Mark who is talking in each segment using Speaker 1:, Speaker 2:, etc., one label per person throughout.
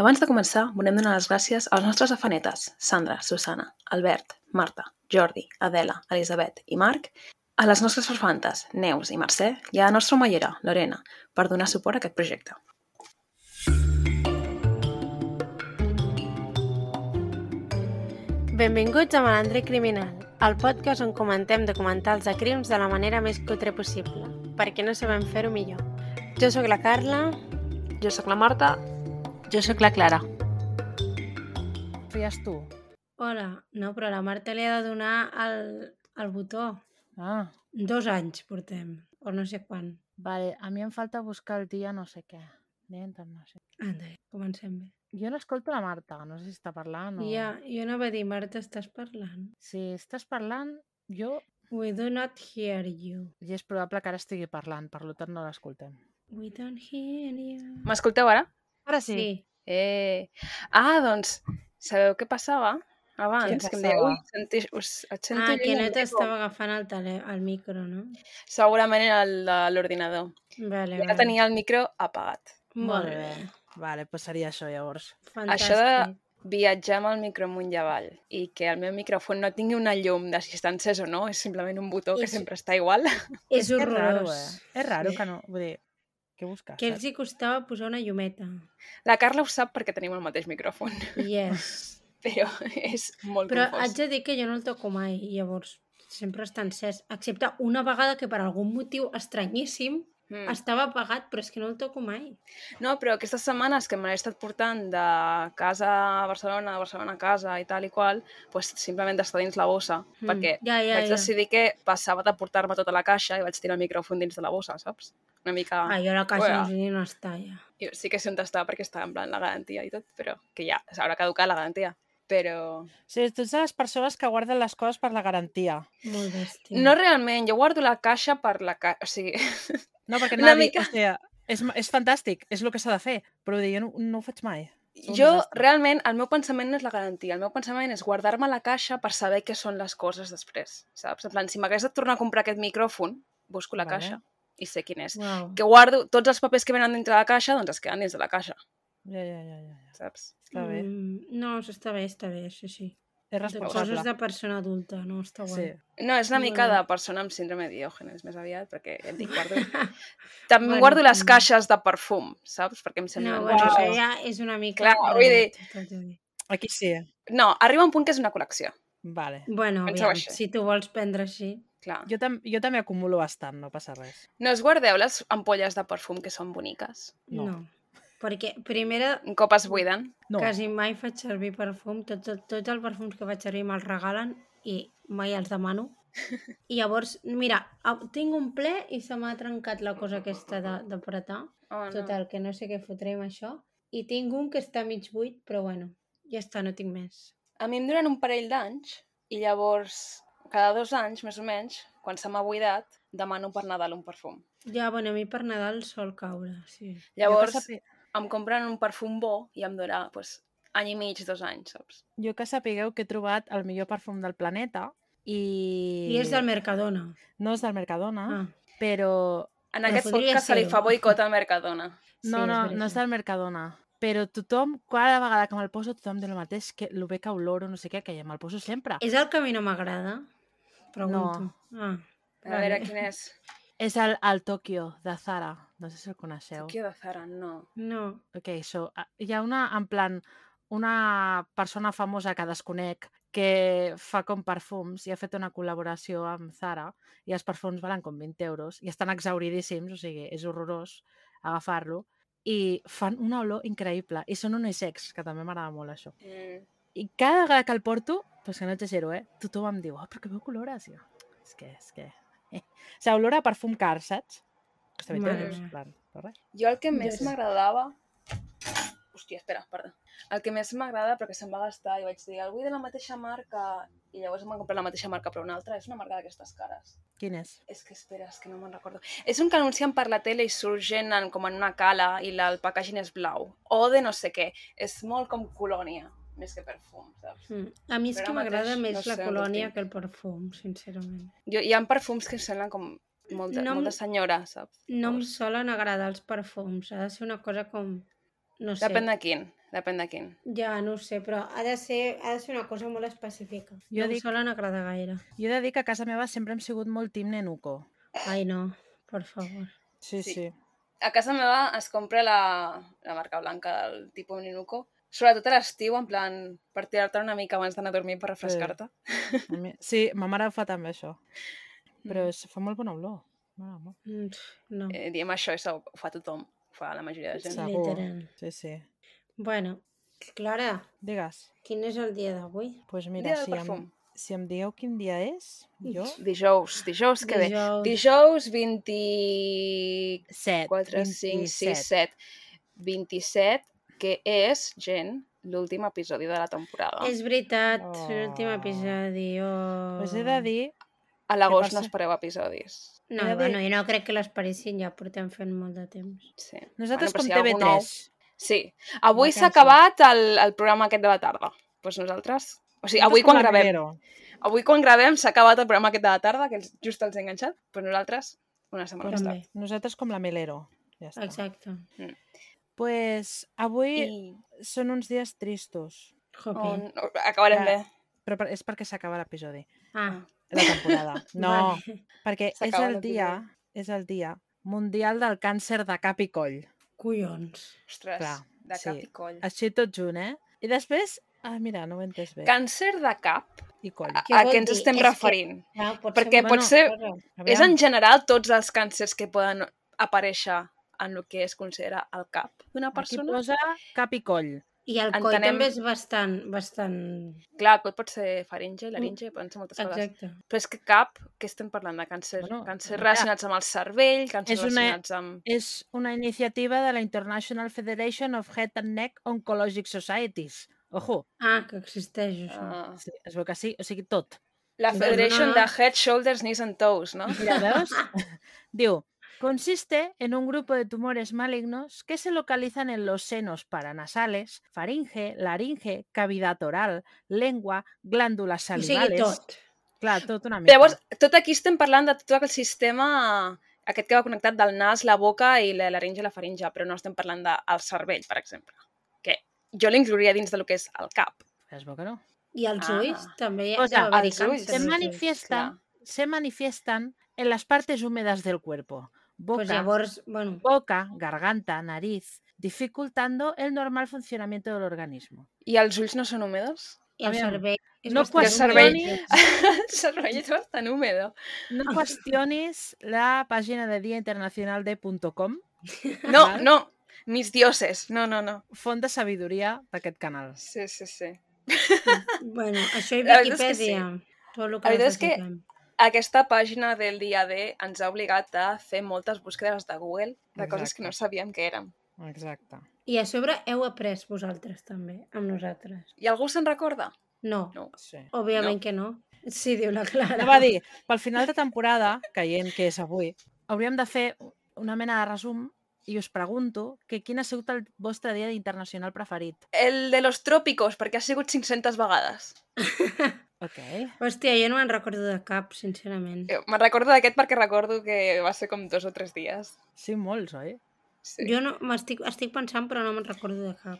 Speaker 1: Abans de començar, volem donar les gràcies als nostres afanetes, Sandra, Susana, Albert, Marta, Jordi, Adela, Elisabet i Marc, a les nostres farfantes, Neus i Mercè, i a la nostra mallera, Lorena, per donar suport a aquest projecte.
Speaker 2: Benvinguts a Malandre Criminal, el podcast on comentem documentals de crims de la manera més cutre possible, perquè no sabem fer-ho millor. Jo sóc la Carla,
Speaker 1: Jo sóc la Marta.
Speaker 3: Jo sóc la Clara.
Speaker 4: Feies tu?
Speaker 2: Hola, no, però la Marta li ha de donar el, el botó.
Speaker 4: Ah,
Speaker 2: Dos anys portem, o no sé quan.
Speaker 4: vale. A mi em falta buscar el dia no sé què. Dia internacional.
Speaker 2: Anda, comencem bé.
Speaker 4: Jo l'escolto la Marta, no sé si està parlant o...
Speaker 2: No. Ja, jo no va dir, Marta, estàs parlant?
Speaker 4: Si estàs parlant, jo...
Speaker 2: We do not hear you.
Speaker 4: I és probable que ara estigui parlant, per lo tant no l'escoltem.
Speaker 2: We don't hear you.
Speaker 1: M'escolteu ara?
Speaker 4: Ara sí.
Speaker 1: Eh... Ah, doncs, sabeu què passava? Abans,
Speaker 4: Què
Speaker 1: que em
Speaker 4: passava?
Speaker 1: deia, ui, senti, us, et sento
Speaker 2: Ah,
Speaker 1: lluny
Speaker 2: que no
Speaker 1: del
Speaker 2: t'estava agafant el, tele, el micro, no?
Speaker 1: micro. Segurament era el de l'ordinador.
Speaker 2: Vale,
Speaker 1: I ara
Speaker 2: vale.
Speaker 1: tenia el micro apagat.
Speaker 2: Molt bé.
Speaker 4: Vale, doncs seria això llavors.
Speaker 2: Fantàstic.
Speaker 1: de- viatjar amb el micro amunt i avall i que el meu micròfon no tingui una llum de si està encès o no, és simplement un botó que
Speaker 2: És-
Speaker 1: sempre està igual.
Speaker 2: És,
Speaker 4: que
Speaker 2: horrorós.
Speaker 4: raro, eh? És raro que no... Vull dir, què busques?
Speaker 2: Que els hi costava posar una llumeta.
Speaker 1: La Carla ho sap perquè tenim el mateix micròfon,
Speaker 2: Yes.
Speaker 1: però és molt
Speaker 2: Però haig
Speaker 1: confós.
Speaker 2: de dir que jo no el toco mai, llavors sempre està encès, excepte una vegada que per algun motiu estranyíssim
Speaker 1: Mm.
Speaker 2: estava apagat, però és que no el toco mai.
Speaker 1: No, però aquestes setmanes que me l'he estat portant de casa a Barcelona, de Barcelona a casa i tal i qual, doncs simplement d'estar dins la bossa,
Speaker 2: Mm.
Speaker 1: perquè
Speaker 2: ja, ja,
Speaker 1: vaig
Speaker 2: ja.
Speaker 1: decidir que passava de portar-me tota la caixa i vaig tirar el micròfon dins de la bossa, saps? Una mica...
Speaker 2: Ah, jo la casa
Speaker 1: Uea.
Speaker 2: no, sé ni on està, ja.
Speaker 1: Jo sí que sé on està perquè està en plan la garantia i tot, però que ja s'haurà caducat la garantia. Però
Speaker 4: O sigui, tu ets de les persones que guarden les coses per la garantia.
Speaker 2: Molt bèstia.
Speaker 1: no realment, jo guardo la caixa per la caixa, o sigui,
Speaker 4: No, perquè
Speaker 1: Una
Speaker 4: anava a dir,
Speaker 1: mica.
Speaker 4: o sigui, és, ma- és fantàstic, és el que s'ha de fer, però vull dir, jo no, no ho faig mai. Sou un
Speaker 1: jo
Speaker 4: desastre.
Speaker 1: realment, el meu pensament no és la garantia, el meu pensament és guardar-me la caixa per saber què són les coses després, saps? En plan, si m'hagués de tornar a comprar aquest micròfon, busco la
Speaker 4: Vale.
Speaker 1: caixa i sé quin és.
Speaker 2: Uau.
Speaker 1: Que guardo tots els papers que venen dintre la caixa, doncs es queden dins de la caixa,
Speaker 4: Ja, ja, ja, ja. ja.
Speaker 1: saps?
Speaker 4: Està bé.
Speaker 2: Mm, no, s'està bé, està bé, sí, sí.
Speaker 4: És
Speaker 2: De coses
Speaker 4: responsable.
Speaker 2: de persona adulta, no? Està
Speaker 4: Sí.
Speaker 2: guai.
Speaker 1: No, és una
Speaker 2: Molt
Speaker 1: mica
Speaker 2: bé.
Speaker 1: de persona amb síndrome de diògenes, més aviat, perquè ja et dic, guardo També
Speaker 2: Bueno,
Speaker 1: bueno, guardo les
Speaker 2: mm.
Speaker 1: caixes de perfum, saps? Perquè em sembla...
Speaker 2: no,
Speaker 1: No,
Speaker 2: bueno,
Speaker 4: Uau.
Speaker 2: això ja és una mica...
Speaker 1: Clar,
Speaker 2: raro,
Speaker 1: vull dir-
Speaker 2: tot el que dic.
Speaker 4: Aquí sí.
Speaker 1: no, arriba un punt que és una col·lecció,
Speaker 4: Vale.
Speaker 2: Bueno,
Speaker 1: Pensava
Speaker 2: aviam,
Speaker 1: així.
Speaker 2: si tu vols prendre així.
Speaker 1: clar.
Speaker 4: Jo, tam jo també acumulo bastant, no passa res.
Speaker 1: No us guardeu les ampolles de perfum que són boniques?
Speaker 2: No.
Speaker 4: No.
Speaker 2: no. Perquè, primera,
Speaker 1: Un cop es buiden?
Speaker 4: No, Quasi...
Speaker 2: quasi mai faig servir perfum. Tot, tot, tots els perfums que faig servir me'ls regalen i mai els demano. I llavors, mira, au- tinc un ple i se m'ha trencat la cosa aquesta de- d'apretar.
Speaker 1: Oh, no.
Speaker 2: Total, que no sé què fotré amb això. I tinc un que està mig buit, però bueno, ja està, no tinc més.
Speaker 1: A mi em duren un parell d'anys i llavors, cada dos anys, més o menys, quan se m'ha buidat, demano per Nadal un perfum.
Speaker 2: Ja, bueno, a mi per Nadal sol caure, sí.
Speaker 1: Llavors,
Speaker 4: jo, que sapi...
Speaker 1: em compren un perfum bo i em dura, doncs, any i mig, dos anys, saps?
Speaker 4: jo que sapigueu que he trobat el millor perfum del planeta i...
Speaker 2: I és del Mercadona.
Speaker 4: No és del Mercadona,
Speaker 2: Ah,
Speaker 4: ah. però...
Speaker 1: En
Speaker 2: Però
Speaker 1: aquest
Speaker 2: podria
Speaker 1: podcast se li
Speaker 2: ser-ho.
Speaker 1: fa boicot al Mercadona.
Speaker 2: sí,
Speaker 4: No, no,
Speaker 2: veritat.
Speaker 4: no és del Mercadona. Però tothom, cada vegada que me'l poso, tothom diu el mateix, que el bé que oloro, no sé què, que ja me'l poso sempre.
Speaker 2: És el que a mi no m'agrada? Pregunto. No. Ah,
Speaker 1: A veure quin és.
Speaker 4: És el, el Tokyo, de Zara. No sé si el coneixeu.
Speaker 1: Tokio de Zara, no.
Speaker 2: no.
Speaker 4: Ok, so, a- hi ha una, en plan, una persona famosa que desconec que fa com perfums i ha fet una col·laboració amb Zara i els perfums valen com 20 euros i estan exhauridíssims, o sigui, és horrorós agafar-lo i fan una olor increïble i són unisex, que també m'agrada molt això.
Speaker 1: Mm.
Speaker 4: I cada vegada que el porto, pues que no exagero, eh? tothom em diu, ah, però que veu colores, jo. És que, és que... Eh. O sigui, olor a perfum car, saps? Costa 20
Speaker 2: Mare
Speaker 4: euros,
Speaker 2: meva.
Speaker 4: en plan, per res.
Speaker 1: Jo el que més
Speaker 2: Yes.
Speaker 1: m'agradava... Hòstia, espera, perdó. El que més m'agrada, però que se'm va gastar, i vaig dir, el vull de la mateixa marca, i llavors m'han comprat la mateixa marca, però una altra, és una marca d'aquestes cares.
Speaker 4: Quin és?
Speaker 1: És que espera, és que no me'n recordo. És un que anuncien per la tele i surgen en, com en una cala i la, el packaging és blau. O de no sé què. És molt com colònia, més que perfum, saps?
Speaker 2: Mm. A mi és
Speaker 1: Però
Speaker 2: que
Speaker 1: ara
Speaker 2: m'agrada
Speaker 1: mateix
Speaker 2: més
Speaker 1: no
Speaker 2: la
Speaker 1: sé on ho
Speaker 2: colònia
Speaker 1: tinc.
Speaker 2: que el perfum, sincerament.
Speaker 1: Jo, hi ha perfums que em semblen com molt de,
Speaker 2: No em-
Speaker 1: molt de senyora, saps?
Speaker 2: No em
Speaker 1: Llavors,
Speaker 2: solen agradar els perfums, ha de ser una cosa com... No sé.
Speaker 1: Depèn de quin. Depèn de quin.
Speaker 2: Ja, no ho sé, però ha de ser, ha de ser una cosa molt específica. no
Speaker 4: Jo dic-
Speaker 2: dic... solen agradar gaire.
Speaker 4: Jo he de dir que a casa meva sempre hem sigut molt team nenuco.
Speaker 2: Ai, no, per favor.
Speaker 4: Sí,
Speaker 1: Sí.
Speaker 4: sí. sí.
Speaker 1: A casa meva es compra la, la marca blanca del tipus Ninuco, sobretot a l'estiu, en plan, per tirar-te una mica abans d'anar a dormir per refrescar-te.
Speaker 4: A mi- Sí, ma mare ho fa també això. Però
Speaker 1: Mm.
Speaker 4: es fa molt bona olor. Mola molt.
Speaker 2: Mm, No,
Speaker 1: Eh, diem això, això ho fa tothom, ho fa la majoria de gent.
Speaker 4: Sí.
Speaker 2: literal.
Speaker 4: Sí, sí.
Speaker 2: Bueno, Clara,
Speaker 4: Digues.
Speaker 2: quin és el dia d'avui?
Speaker 4: Doncs pues
Speaker 1: Dia
Speaker 4: mira,
Speaker 1: del
Speaker 4: si em,
Speaker 1: perfum.
Speaker 4: si em dieu quin dia és, jo...
Speaker 1: Dijous, dijous que ve.
Speaker 2: Dijous.
Speaker 1: Dijous 24,
Speaker 4: 7,
Speaker 1: 5, 6, 7, 27, que és, gent, l'últim episodi de la temporada.
Speaker 2: És veritat, oh.
Speaker 4: Oh.
Speaker 2: l'últim episodi. Oh.
Speaker 4: Us he de dir
Speaker 1: A l'agost
Speaker 4: Què
Speaker 1: no
Speaker 4: passa?
Speaker 1: espereu episodis.
Speaker 2: No,
Speaker 4: he de dir-
Speaker 2: bueno, jo no crec que les paressin, ja portem fent molt de temps.
Speaker 1: Sí.
Speaker 4: Nosaltres
Speaker 1: Bueno,
Speaker 4: bueno,
Speaker 1: però
Speaker 4: com
Speaker 1: si hi ha
Speaker 4: TV3.
Speaker 1: algun nou- Sí. Avui s'ha
Speaker 4: cançó.
Speaker 1: acabat el, el programa aquest de la tarda. Doncs pues nosaltres... O sigui, avui
Speaker 4: nosaltres
Speaker 1: quan
Speaker 4: com a
Speaker 1: gravem,
Speaker 4: Rivero.
Speaker 1: avui quan gravem s'ha acabat el programa aquest de la tarda, que ens- just els he enganxat, però nosaltres una setmana més
Speaker 2: També,
Speaker 1: tard.
Speaker 4: Nosaltres com la Melero. Ja està. Exacte.
Speaker 2: exacte.
Speaker 4: Pues avui I...
Speaker 1: I
Speaker 4: són uns dies tristos,
Speaker 2: Jope.
Speaker 1: on, acabarem
Speaker 4: Ja.
Speaker 1: bé.
Speaker 4: però per- és perquè s'acaba l'episodi,
Speaker 2: Ah,
Speaker 4: la temporada. No, vale.
Speaker 2: vale.
Speaker 4: perquè és
Speaker 1: S'acaba
Speaker 4: el dia, és el dia mundial del càncer de cap i coll.
Speaker 2: Collons.
Speaker 1: Ostres,
Speaker 4: Clar,
Speaker 1: de cap
Speaker 4: sí.
Speaker 1: i coll.
Speaker 4: Així tot junt, eh? I després... Ah, mira, no ho he entès bé.
Speaker 1: Càncer de cap,
Speaker 4: I coll.
Speaker 1: a,
Speaker 2: Què
Speaker 1: a
Speaker 2: vol
Speaker 1: què ens
Speaker 2: dir?
Speaker 1: estem
Speaker 2: És que-
Speaker 1: referint?
Speaker 2: Ja, pot
Speaker 1: Perquè pot ser-
Speaker 4: Aviam,
Speaker 1: És en general tots els càncers que poden aparèixer en el que es considera el cap d'una
Speaker 4: Aquí
Speaker 1: persona.
Speaker 4: posa cap i coll.
Speaker 2: I el coll
Speaker 1: Entenem-
Speaker 2: també és bastant, bastant...
Speaker 1: Clar, tot pot ser faringe, laringe, poden ser moltes coses.
Speaker 2: Exacte.
Speaker 1: Però és que cap, que estem parlant de càncer, bueno,
Speaker 4: Bueno,
Speaker 1: càncer
Speaker 4: mira,
Speaker 1: relacionats amb el cervell, càncer
Speaker 4: és una-
Speaker 1: relacionats amb...
Speaker 4: És una iniciativa de la International Federation of Head and Neck Oncologic Societies. Ojo,
Speaker 2: Ah, que existeix això.
Speaker 1: Uh,
Speaker 4: sí, es veu que sí, o sigui, tot.
Speaker 1: la
Speaker 4: és
Speaker 1: Federation
Speaker 2: una-
Speaker 1: de Head, Shoulders, Knees and Toes, no?
Speaker 4: Mira, veus? Diu, consiste en un grupo de tumores malignos que se localizan en los senos paranasales, faringe, laringe, cavidad oral, lengua, glándulas
Speaker 2: o sigui,
Speaker 4: salivales...
Speaker 2: tot.
Speaker 4: Clar, tot una mica.
Speaker 1: Llavors, tot aquí estem parlant de tot el sistema aquest que va connectat del nas, la boca i la laringe i la faringe, però no estem parlant del cervell, per exemple, que jo l'inclouria dins del que és el cap.
Speaker 4: Es veu que no.
Speaker 2: I els
Speaker 1: Ah.
Speaker 2: ulls també hi ha
Speaker 4: O
Speaker 2: deu
Speaker 4: sea,
Speaker 2: haver-hi
Speaker 1: els ulls.
Speaker 2: càncer
Speaker 4: Se
Speaker 1: Sí,
Speaker 2: als
Speaker 1: sí,
Speaker 2: ulls.
Speaker 4: manifiestan, se manifiestan en las partes húmedas del cuerpo, boca,
Speaker 2: Pues llavors, bueno,
Speaker 1: Oh,
Speaker 4: boca, garganta, nariz, dificultando el normal funcionamiento del organismo.
Speaker 1: I els ulls no són húmedos?
Speaker 2: i el
Speaker 4: aviam.
Speaker 2: cervell... és
Speaker 4: No
Speaker 2: bastant
Speaker 1: cuestioni-
Speaker 2: húmed.
Speaker 1: El cervell és bastant húmedo.
Speaker 4: No cuestiones la página de Día Internacional de .com,
Speaker 1: No,
Speaker 4: Vale.
Speaker 1: no, mis dioses, no, no, no.
Speaker 4: font de sabidoria d'aquest canal.
Speaker 1: Sí, sí, sí.
Speaker 2: Bueno, això i
Speaker 1: La veritat és que
Speaker 2: Wikipedia. Tot el que
Speaker 1: La veritat és que-
Speaker 2: necessitem.
Speaker 1: Aquesta pàgina del dia D ens ha obligat a fer moltes búsquedes de Google de coses que
Speaker 4: Exacte.
Speaker 1: no sabíem que eren.
Speaker 4: Exacte.
Speaker 2: I a sobre heu après vosaltres també, amb nosaltres.
Speaker 1: I algú se'n recorda?
Speaker 2: No,
Speaker 1: No.
Speaker 4: Sí.
Speaker 2: òbviament que no. Sí, diu la Clara.
Speaker 4: Va dir, pel final de temporada, caient que és avui, hauríem de fer una mena de resum i us pregunto que quin ha sigut el vostre dia internacional preferit.
Speaker 1: El de los trópicos, perquè ha sigut 500 vegades.
Speaker 4: Ok.
Speaker 2: Hòstia, jo no me'n recordo de cap, sincerament.
Speaker 1: Eh, Me'n recordo d'aquest perquè recordo que va ser com dos o tres dies.
Speaker 4: Sí, molts, oi?
Speaker 1: Sí.
Speaker 2: Jo no, estic, estic pensant, però no me'n recordo de cap.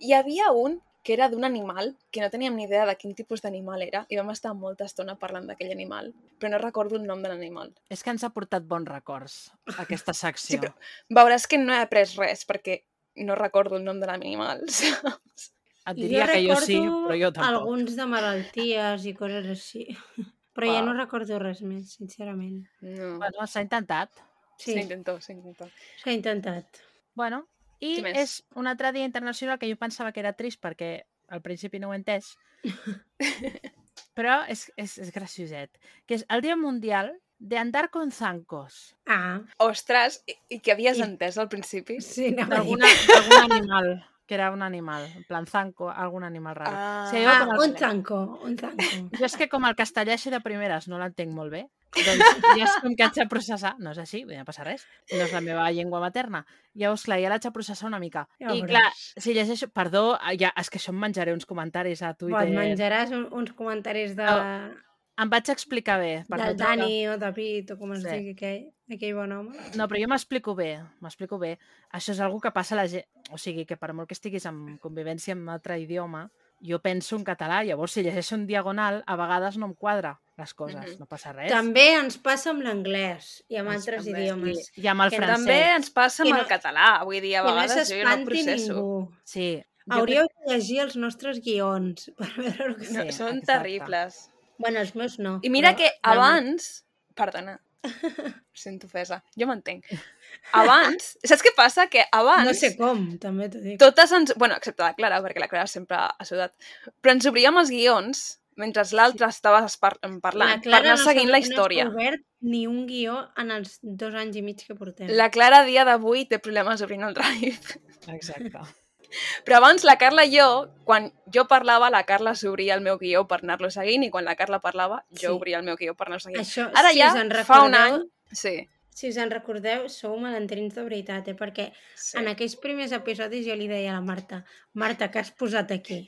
Speaker 1: Hi havia un que era d'un animal, que no teníem ni idea de quin tipus d'animal era, i vam estar molta estona parlant d'aquell animal, però no recordo el nom de l'animal.
Speaker 4: És que ens ha portat bons records, aquesta secció.
Speaker 1: Sí, però- Veuràs que no he après res, perquè no recordo el nom de l'animal. saps?
Speaker 4: Et diria que jo sí, però jo tampoc.
Speaker 2: alguns de malalties i coses així. Però ja no recordo res més, sincerament.
Speaker 1: No.
Speaker 4: Bueno, s'ha intentat.
Speaker 1: Sí.
Speaker 2: Sí,
Speaker 1: S'intentó, s'intentó.
Speaker 2: s'ha intentat.
Speaker 4: Bueno, i
Speaker 1: Què més?
Speaker 4: és un altre dia internacional que jo pensava que era trist perquè al principi no ho he entès. però és, és, és gracioset. Que és el Dia Mundial de andar con zancos.
Speaker 2: Ah,
Speaker 1: Ostres, i, i què havies
Speaker 2: I-
Speaker 1: entès al principi?
Speaker 2: sí, no,
Speaker 4: D'alguna- D'algun animal, que era un animal. En plan zanco, algun animal raro.
Speaker 1: Ah,
Speaker 4: Sí, jo
Speaker 2: Ah,
Speaker 4: com el-
Speaker 2: un tanco, un tanco.
Speaker 4: Jo és que com el castellà així de primeres no l'entenc molt bé, doncs ja és com que haig de processar, no és així, no passa res, no és la meva llengua materna. Llavors, clar, ja l'haig de processar una mica.
Speaker 2: Ja
Speaker 4: I
Speaker 2: veuràs.
Speaker 4: clar, si llegeixo... Perdó, ah, ja, és que això em menjaré uns comentaris a
Speaker 2: Bon,
Speaker 4: Twitter.
Speaker 2: menjaràs un, uns comentaris de...
Speaker 4: Em vaig explicar bé.
Speaker 2: Per del
Speaker 4: no treure-
Speaker 2: Dani o David o com es
Speaker 4: Sí.
Speaker 2: digui aquell, aquell bon home.
Speaker 4: No, però jo m'explico bé, m'explico bé. Això és algo que passa a la gent... O sigui, que per molt que estiguis en convivència en un altre idioma, jo penso en català, llavors si llegeixo en diagonal, a vegades no em quadra les coses,
Speaker 1: Mhm.
Speaker 4: no passa res.
Speaker 2: També ens passa amb l'anglès i amb
Speaker 1: Ens-
Speaker 2: altres
Speaker 1: amb
Speaker 2: idiomes.
Speaker 4: I amb el
Speaker 2: que
Speaker 4: francès.
Speaker 1: També ens passa amb
Speaker 2: I no-
Speaker 1: el català. Vull dir, a
Speaker 2: Que no
Speaker 1: vegades jo ja no
Speaker 2: s'espanti
Speaker 1: processo.
Speaker 2: ningú.
Speaker 4: Sí. jo
Speaker 2: Hauríeu de llegir els nostres guions per veure el que...
Speaker 1: No,
Speaker 4: Sí,
Speaker 1: són
Speaker 4: exacte.
Speaker 1: terribles.
Speaker 2: Bueno, els meus no.
Speaker 1: I mira
Speaker 2: però
Speaker 1: que
Speaker 2: realment-
Speaker 1: abans... Perdona. Em Sento ofesa. Jo m'entenc. Abans... Saps què passa? Que abans...
Speaker 2: No sé com, també t'ho dic.
Speaker 1: Totes ens... bueno, excepte la Clara, perquè la Clara sempre ha sudat. Però ens obríem els guions mentre l'altre estava par parlant, per anar seguint la història.
Speaker 2: No s'ha obert ni un guió en els dos anys i mig que portem.
Speaker 1: La Clara a dia d'avui té problemes obrint el drive.
Speaker 4: Exacte.
Speaker 1: Però abans la Carla i jo, quan jo parlava, la Carla s'obria el meu guió per anar-lo seguint i quan la Carla parlava, jo
Speaker 2: Sí.
Speaker 1: obria el meu guió per anar-lo seguint.
Speaker 2: Això,
Speaker 1: Ara
Speaker 2: si
Speaker 1: ja,
Speaker 2: us en
Speaker 1: fa un
Speaker 2: recordeu-
Speaker 1: any... Sí,
Speaker 2: Si us en recordeu, sou malentrins de veritat, eh? perquè
Speaker 1: sí.
Speaker 2: en aquells primers episodis jo li deia a la Marta, Marta, què has posat aquí?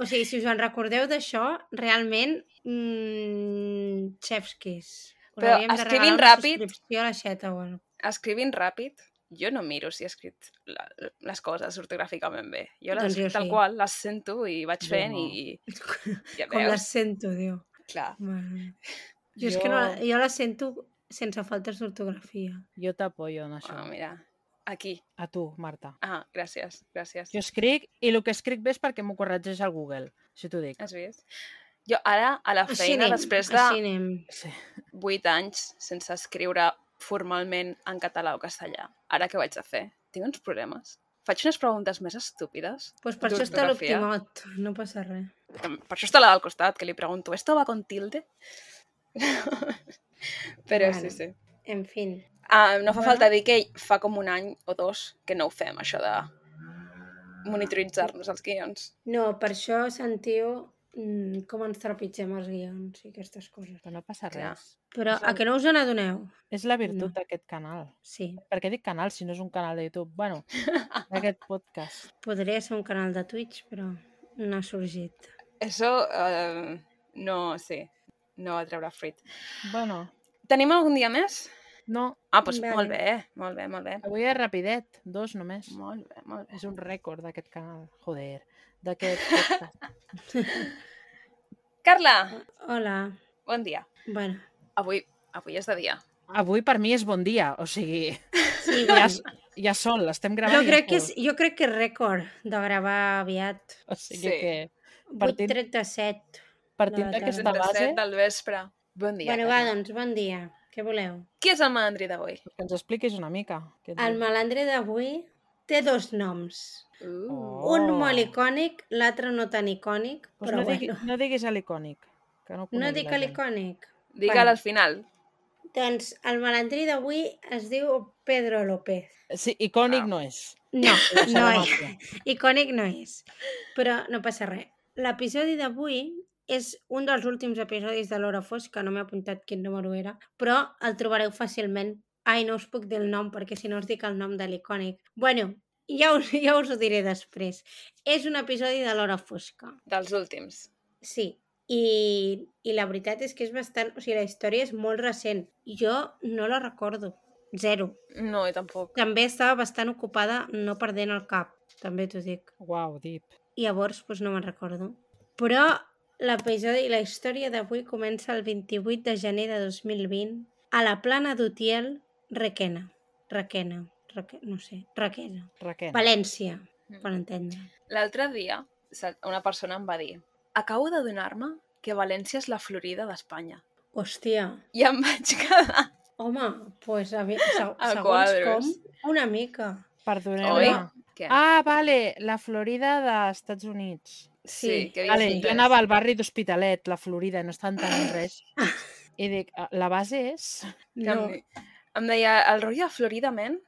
Speaker 2: O sigui, si us en recordeu d'això, realment, mmm, chef's kiss. Us
Speaker 1: Però
Speaker 2: havíem de regalar
Speaker 1: escrivint
Speaker 2: una
Speaker 1: ràpid.
Speaker 2: Subscripció a la xeta, bueno.
Speaker 1: escrivint ràpid, jo no miro si he escrit la, les coses ortogràficament bé. Jo les
Speaker 2: Doncs jo
Speaker 1: escric tal
Speaker 2: sí.
Speaker 1: qual, les sento i vaig
Speaker 4: Jo
Speaker 1: fent
Speaker 4: no.
Speaker 1: i, i ja
Speaker 2: Com
Speaker 1: veus.
Speaker 2: les sento, Déu.
Speaker 1: Clar.
Speaker 2: Bueno. Jo, jo... És que no, la-
Speaker 1: Jo-
Speaker 2: jo la sento sense faltes d'ortografia.
Speaker 4: Jo t'apoyo en això.
Speaker 1: Ah, mira, aquí.
Speaker 4: A tu, Marta.
Speaker 1: Ah, gràcies, gràcies.
Speaker 4: Jo escric i el que escric bé és perquè m'ho corregeix al Google, si t'ho dic.
Speaker 1: Has vist? Jo ara, a la
Speaker 2: Així
Speaker 1: feina,
Speaker 2: anem,
Speaker 1: després de
Speaker 2: així anem.
Speaker 4: Sí.
Speaker 1: 8 anys sense escriure formalment en català o castellà, ara què vaig a fer? Tinc uns problemes. Faig unes preguntes més estúpides?
Speaker 2: Pues per això està
Speaker 1: d'ortografia.
Speaker 2: l'optimot, no passa res.
Speaker 1: Per això està la del costat, que li pregunto, ¿esto va con tilde? Però
Speaker 2: Bueno.
Speaker 1: sí, sí.
Speaker 2: En fin.
Speaker 1: Ah, no fa
Speaker 2: Bueno.
Speaker 1: falta dir que fa com un any o dos que no ho fem, això de monitoritzar-nos els guions.
Speaker 2: No, per això sentiu mm, com ens trepitgem els guions i aquestes coses.
Speaker 4: Però no passa
Speaker 1: Clar.
Speaker 4: res.
Speaker 2: Però
Speaker 1: Som-
Speaker 2: a que no us n'adoneu?
Speaker 4: És la virtut
Speaker 2: No.
Speaker 4: d'aquest canal.
Speaker 2: Sí,
Speaker 4: Per què dic canal si no és un canal de YouTube? Bueno, d'aquest podcast.
Speaker 2: podria ser un canal de Twitch, però no ha sorgit.
Speaker 1: Això eh, no, sí, no va treure fruit.
Speaker 4: Bueno,
Speaker 1: Tenim algun dia més?
Speaker 4: no,
Speaker 1: Ah, doncs
Speaker 2: Vale.
Speaker 1: molt bé, molt bé, molt bé.
Speaker 4: avui és rapidet, dos només.
Speaker 1: Molt bé, molt bé.
Speaker 4: És un rècord d'aquest canal, joder, d'aquest podcast.
Speaker 1: Carla,
Speaker 2: Hola.
Speaker 1: bon dia.
Speaker 2: Bueno,
Speaker 1: Avui, avui és de dia.
Speaker 4: Avui per mi és bon dia, o sigui,
Speaker 2: sí,
Speaker 4: ja,
Speaker 2: bueno.
Speaker 4: és- ja sol, estem gravant.
Speaker 2: Jo
Speaker 4: ja
Speaker 2: crec, que és,
Speaker 4: sol.
Speaker 2: jo crec que és rècord de gravar aviat.
Speaker 4: O sigui
Speaker 1: Sí.
Speaker 4: que, Partint-
Speaker 2: 8.37.
Speaker 4: partint
Speaker 1: És
Speaker 2: La
Speaker 4: d'aquesta
Speaker 2: tarda.
Speaker 4: base,
Speaker 1: 37 del vespre. Bon dia.
Speaker 2: Bueno, va,
Speaker 1: Carla.
Speaker 2: doncs, bon dia. Què voleu?
Speaker 1: Qui és el malandrí d'avui?
Speaker 4: que ens expliquis una mica. què et
Speaker 2: El
Speaker 4: diu.
Speaker 2: malandre d'avui té dos noms.
Speaker 1: Uh.
Speaker 4: Oh.
Speaker 2: Oh. Un molt icònic, l'altre no tan icònic,
Speaker 4: Doncs
Speaker 2: però
Speaker 4: no,
Speaker 2: no
Speaker 4: digui,
Speaker 2: bueno.
Speaker 4: no diguis a l'icònic. Que no, ho
Speaker 2: No
Speaker 4: conegui
Speaker 2: dic
Speaker 4: la gent.
Speaker 2: l'icònic.
Speaker 1: Digue'l al final.
Speaker 2: Doncs el malandrí d'avui es diu Pedro López.
Speaker 4: Sí, icònic
Speaker 1: Ah.
Speaker 4: no és.
Speaker 2: No, no
Speaker 4: Serà
Speaker 2: és.
Speaker 4: màfia.
Speaker 2: Icònic no és. Però no passa res. L'episodi d'avui és un dels últims episodis de l'Hora Fosca, no m'he apuntat quin número era, però el trobareu fàcilment. Ai, no us puc dir el nom perquè si no us dic el nom de l'icònic. Bueno, ja us, ja us ho diré després. És un episodi de l'Hora Fosca.
Speaker 1: Dels últims.
Speaker 2: Sí, i, i la veritat és que és bastant... O sigui, la història és molt recent. Jo no la recordo. Zero.
Speaker 1: No, jo tampoc.
Speaker 2: També estava bastant ocupada no perdent el cap, també t'ho dic.
Speaker 4: Uau, deep.
Speaker 2: I llavors, doncs no me'n recordo. Però l'episodi i la història d'avui comença el 28 de gener de 2020 a la plana d'Utiel, Requena. Requena. Reque... No sé. Requena.
Speaker 4: Raquel.
Speaker 2: València,
Speaker 1: Mm.
Speaker 2: per entendre.
Speaker 1: L'altre dia, sa- una persona em va dir acabo de donar-me que València és la Florida d'Espanya.
Speaker 2: Hòstia,
Speaker 1: I em vaig quedar...
Speaker 2: Home, doncs pues, a mi, seg
Speaker 1: A
Speaker 2: segons
Speaker 1: quadros.
Speaker 2: com, una mica.
Speaker 4: Perdoneu-me.
Speaker 1: Oi?
Speaker 2: Hola.
Speaker 1: Què?
Speaker 4: Ah, vale, la Florida dels Estats Units.
Speaker 1: sí,
Speaker 2: sí.
Speaker 1: que havia
Speaker 4: Vale,
Speaker 1: dit
Speaker 4: jo
Speaker 1: res.
Speaker 4: anava al barri d'Hospitalet, la Florida, i no estan entenent res. I dic, "Ah, la base és
Speaker 1: Que
Speaker 2: No,
Speaker 1: em, em deia, el rotllo de Florida, men,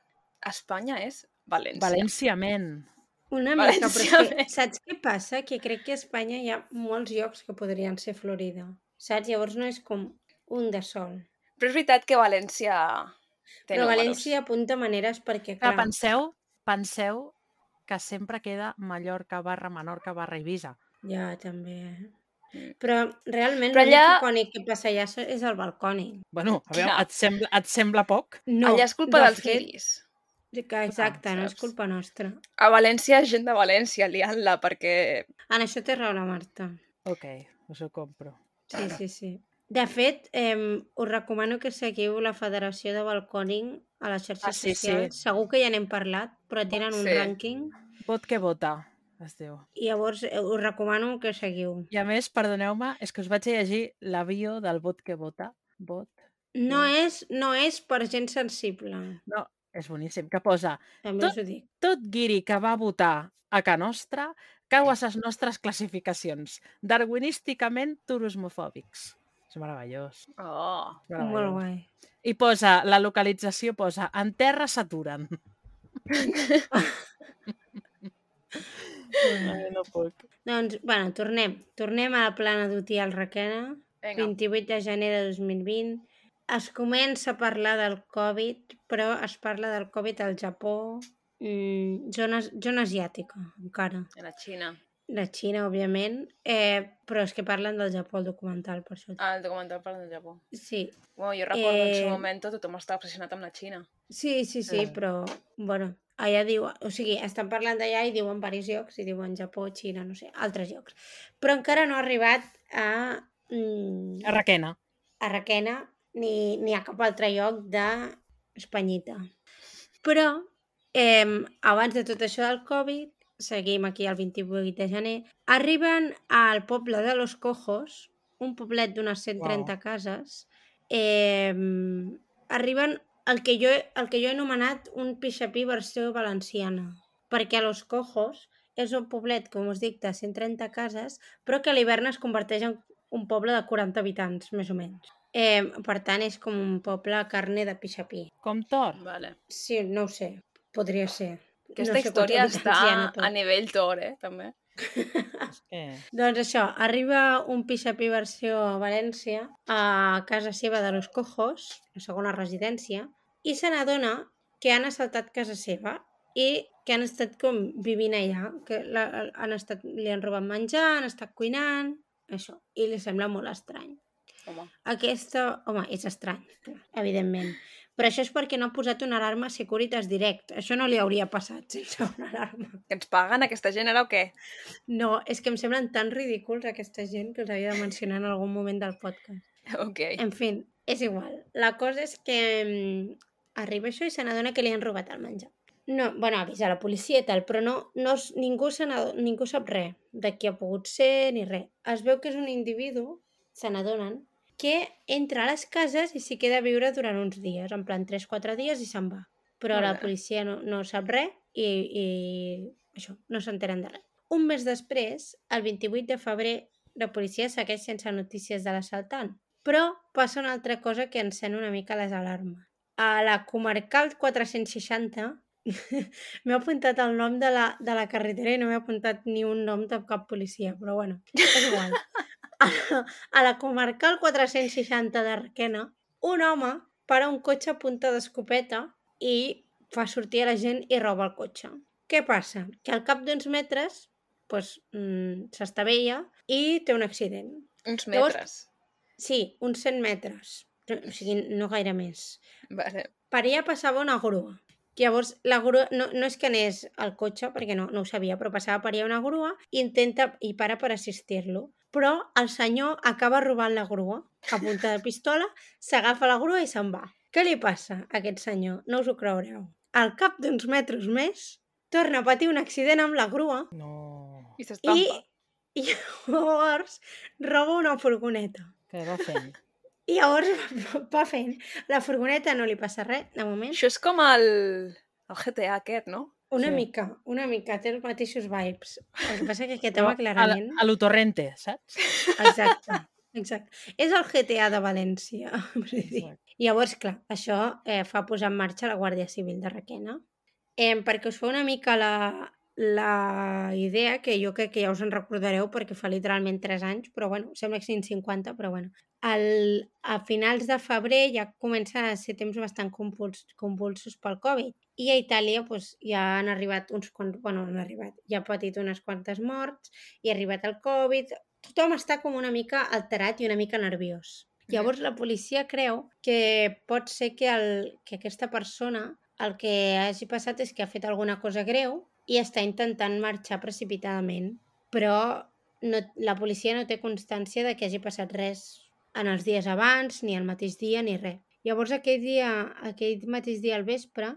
Speaker 1: Espanya és València.
Speaker 4: València Men.
Speaker 2: una
Speaker 1: València,
Speaker 2: mica, però és que,
Speaker 1: bé.
Speaker 2: saps què passa? Que crec que a Espanya hi ha molts llocs que podrien ser Florida, saps? Llavors no és com un de sol.
Speaker 1: Però és veritat que València té
Speaker 2: Però
Speaker 1: números.
Speaker 2: València apunta maneres perquè,
Speaker 4: Clar,
Speaker 2: clar,
Speaker 4: penseu, penseu que sempre queda Mallorca barra Menorca barra Eivissa.
Speaker 2: ja també... eh? Però realment
Speaker 1: Mm. Però
Speaker 2: l'únic
Speaker 1: allà-
Speaker 2: icònic que passa allà so- és el balcònic.
Speaker 4: Bueno, a veure,
Speaker 1: Clar.
Speaker 4: et sembla, et sembla poc?
Speaker 2: No,
Speaker 1: Allà és culpa
Speaker 2: de
Speaker 1: dels
Speaker 2: fet,
Speaker 1: guiris.
Speaker 2: Que exacte, no és
Speaker 1: saps?
Speaker 2: culpa nostra.
Speaker 1: A València, gent de València, liant-la, perquè...
Speaker 2: En això té raó la Marta.
Speaker 4: Ok, us ho compro.
Speaker 2: Sí, sí, sí. De fet, eh, us recomano que seguiu la Federació de Balcòning a les xarxes
Speaker 4: Ah, sí, sí.
Speaker 2: socials. Segur que ja n'hem parlat, però tenen un
Speaker 1: Sí.
Speaker 2: rànquing.
Speaker 4: Vot que vota, es diu.
Speaker 2: I llavors eh, us recomano que seguiu.
Speaker 4: I a més, perdoneu-me, és que us vaig a llegir la bio del vot que vota. Vot.
Speaker 2: No
Speaker 1: Mm.
Speaker 2: és, no és per gent sensible.
Speaker 4: És boníssim. Que posa,
Speaker 2: També us ho dic.
Speaker 4: tot guiri que va votar a Ca Nostra cau a les nostres classificacions, darwinísticament turosmofòbics. És meravellós.
Speaker 1: Oh,
Speaker 4: és meravellós.
Speaker 2: Molt guai.
Speaker 4: I posa, la localització posa, en terra s'aturen. Ai, no puc.
Speaker 2: Doncs, bueno, tornem. Tornem a la plana d'Utiel al Requena.
Speaker 1: vinga.
Speaker 2: 28 de gener de 2020. Es comença a parlar del Covid, però es parla del Covid al Japó, mm, zona, zona asiàtica, encara.
Speaker 1: A la Xina.
Speaker 2: La Xina, òbviament, eh, però és que parlen del Japó al documental, per això.
Speaker 1: Ah, el documental parla del Japó.
Speaker 2: Sí,
Speaker 1: Bueno, jo recordo eh... en
Speaker 2: Eh,
Speaker 1: su moment tothom estava obsessionat amb la Xina.
Speaker 2: sí, sí, sí,
Speaker 4: Ah.
Speaker 2: però, bueno, allà diu... O sigui, estan parlant d'allà i diuen diversos llocs, i diuen Japó, Xina, no sé, altres llocs. Però encara no ha arribat a... Mm,
Speaker 4: A Requena.
Speaker 2: a Requena ni, ni a cap altre lloc d'Espanyita. Però, eh, abans de tot això del Covid, seguim aquí el 28 de gener, arriben al poble de Los Cojos, un poblet d'unes 130 wow. cases, eh, arriben el que, jo, he- el que jo he anomenat un pixapí versió valenciana, perquè a Los Cojos és un poblet, com us dic, de 130 cases, però que a l'hivern es converteix en un poble de 40 habitants, més o menys. Eh, per tant, és com un poble carne de pixapí.
Speaker 4: Com Tor.
Speaker 1: Vale.
Speaker 2: Sí, no ho sé, podria ser.
Speaker 1: Aquesta
Speaker 2: no
Speaker 1: no
Speaker 2: sé
Speaker 1: història
Speaker 2: quants
Speaker 1: està
Speaker 2: habitants hi ha, no tot.
Speaker 1: a nivell Tor, eh, també.
Speaker 4: És que...
Speaker 2: Doncs això, arriba un pixapí versió a València, a casa seva de los Cojos, la segona residència, i se n'adona que han assaltat casa seva i que han estat com vivint allà, que la, han estat, li han robat menjar, han estat cuinant, això, i li sembla molt estrany.
Speaker 1: Home.
Speaker 2: Aquesta, home, és estrany, clar, evidentment. Però això és perquè no ha posat una alarma a Securitas Direct. Això no li hauria passat sense una alarma.
Speaker 1: Que ens paguen aquesta gent ara o què?
Speaker 2: No, és que em semblen tan ridículs aquesta gent que els havia de mencionar en algun moment del podcast.
Speaker 1: Ok.
Speaker 2: En fi, és igual. La cosa és que mm, arriba això i se n'adona que li han robat el menjar. No, bueno, avisa la policia i tal, però no, no es- ningú, se n'ado- ningú sap res de qui ha pogut ser ni res. Es veu que és un individu, se n'adonen, que entra a les cases i s'hi queda a viure durant uns dies, en plan 3-4 dies i se'n va. Però la
Speaker 1: Hola.
Speaker 2: policia no, no sap res i, i això, no s'enteren de res. Un mes després, el 28 de febrer, la policia segueix sense notícies de l'assaltant. Però passa una altra cosa que encén una mica les alarmes. A la comarcal 460 m'he apuntat el nom de la, de la carretera i no m'he apuntat ni un nom de cap policia, però bueno, és igual. Ah, A la, a la comarcal 460 de Requena, un home para un cotxe a punta d'escopeta i fa sortir a la gent i roba el cotxe. Què passa? Que al cap d'uns metres pues, mm, s'estavella i té un accident.
Speaker 1: Uns
Speaker 2: Llavors-
Speaker 1: metres.
Speaker 2: Sí, uns 100 metres. O sigui, no gaire més.
Speaker 1: Vale.
Speaker 2: Per allà passava una grua. Llavors, la grua, no, no és que anés al cotxe, perquè no, no ho sabia, però passava per allà una grua i intenta i para per assistir-lo. Però el senyor acaba robant la grua a punta de pistola, s'agafa la grua i se'n va. Què li passa a aquest senyor? No us ho creureu. Al cap d'uns metres més, torna a patir un accident amb la grua
Speaker 4: No.
Speaker 1: I
Speaker 2: i,
Speaker 1: s'estampa.
Speaker 2: i llavors roba una furgoneta.
Speaker 4: Què va fent?
Speaker 2: I llavors va- va fent. La furgoneta no li passa res, de moment.
Speaker 1: Això és com el... el GTA aquest, no?
Speaker 2: Una
Speaker 4: sí.
Speaker 2: mica, una mica. Té els mateixos vibes. El que passa que aquest
Speaker 4: No,
Speaker 2: home
Speaker 4: A, la-
Speaker 2: clarament...
Speaker 4: a l'Utorrente, saps?
Speaker 2: Exacte. Exacte. És el GTA de València. vull dir.
Speaker 4: Exacte.
Speaker 2: Llavors, clar, això eh, fa posar en marxa la Guàrdia Civil de Requena. Eh, perquè us fa una mica la, la idea, que jo crec que ja us en recordareu perquè fa literalment 3 anys, però bueno, sembla que siguin 50, però bueno. El, a finals de febrer ja comença a ser temps bastant convuls, convulsos pel Covid. I a Itàlia doncs, ja han arribat uns quants... Bueno, han arribat. Ja ha patit unes quantes morts, i ha arribat el Covid, tothom està com una mica alterat i una mica nerviós. Llavors la policia creu que pot ser que, el, que aquesta persona el que hagi passat és que ha fet alguna cosa greu i està intentant marxar precipitadament, però no, la policia no té constància de que hagi passat res en els dies abans, ni el mateix dia, ni res. Llavors aquell, dia, aquell mateix dia al vespre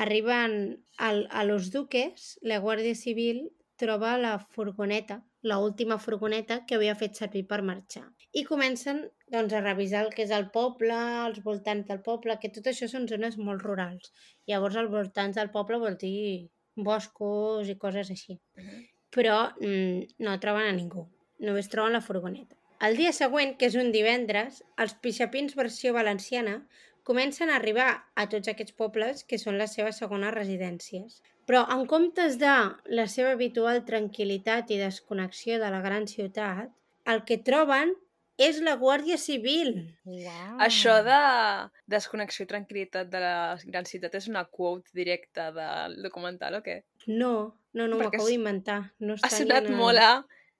Speaker 2: arriben al, a Los Duques, la Guàrdia Civil troba la furgoneta, la última furgoneta que havia fet servir per marxar. I comencen doncs, a revisar el que és el poble, els voltants del poble, que tot això són zones molt rurals. Llavors, els voltants del poble vol dir boscos i coses així. Però mm, no troben a ningú, només troben la furgoneta. El dia següent, que és un divendres, els pixapins versió valenciana comencen a arribar a tots aquests pobles que són les seves segones residències. Però en comptes de la seva habitual tranquil·litat i desconnexió de la gran ciutat, el que troben és la Guàrdia Civil.
Speaker 4: Uau.
Speaker 1: Això de desconnexió i tranquil·litat de la gran ciutat és una quote directa del documental o què?
Speaker 2: No, no, no,
Speaker 1: Perquè
Speaker 2: m'acabo
Speaker 1: s-
Speaker 2: d'inventar. No
Speaker 1: Ha
Speaker 2: està ni
Speaker 1: sonat
Speaker 2: en el-
Speaker 1: molt a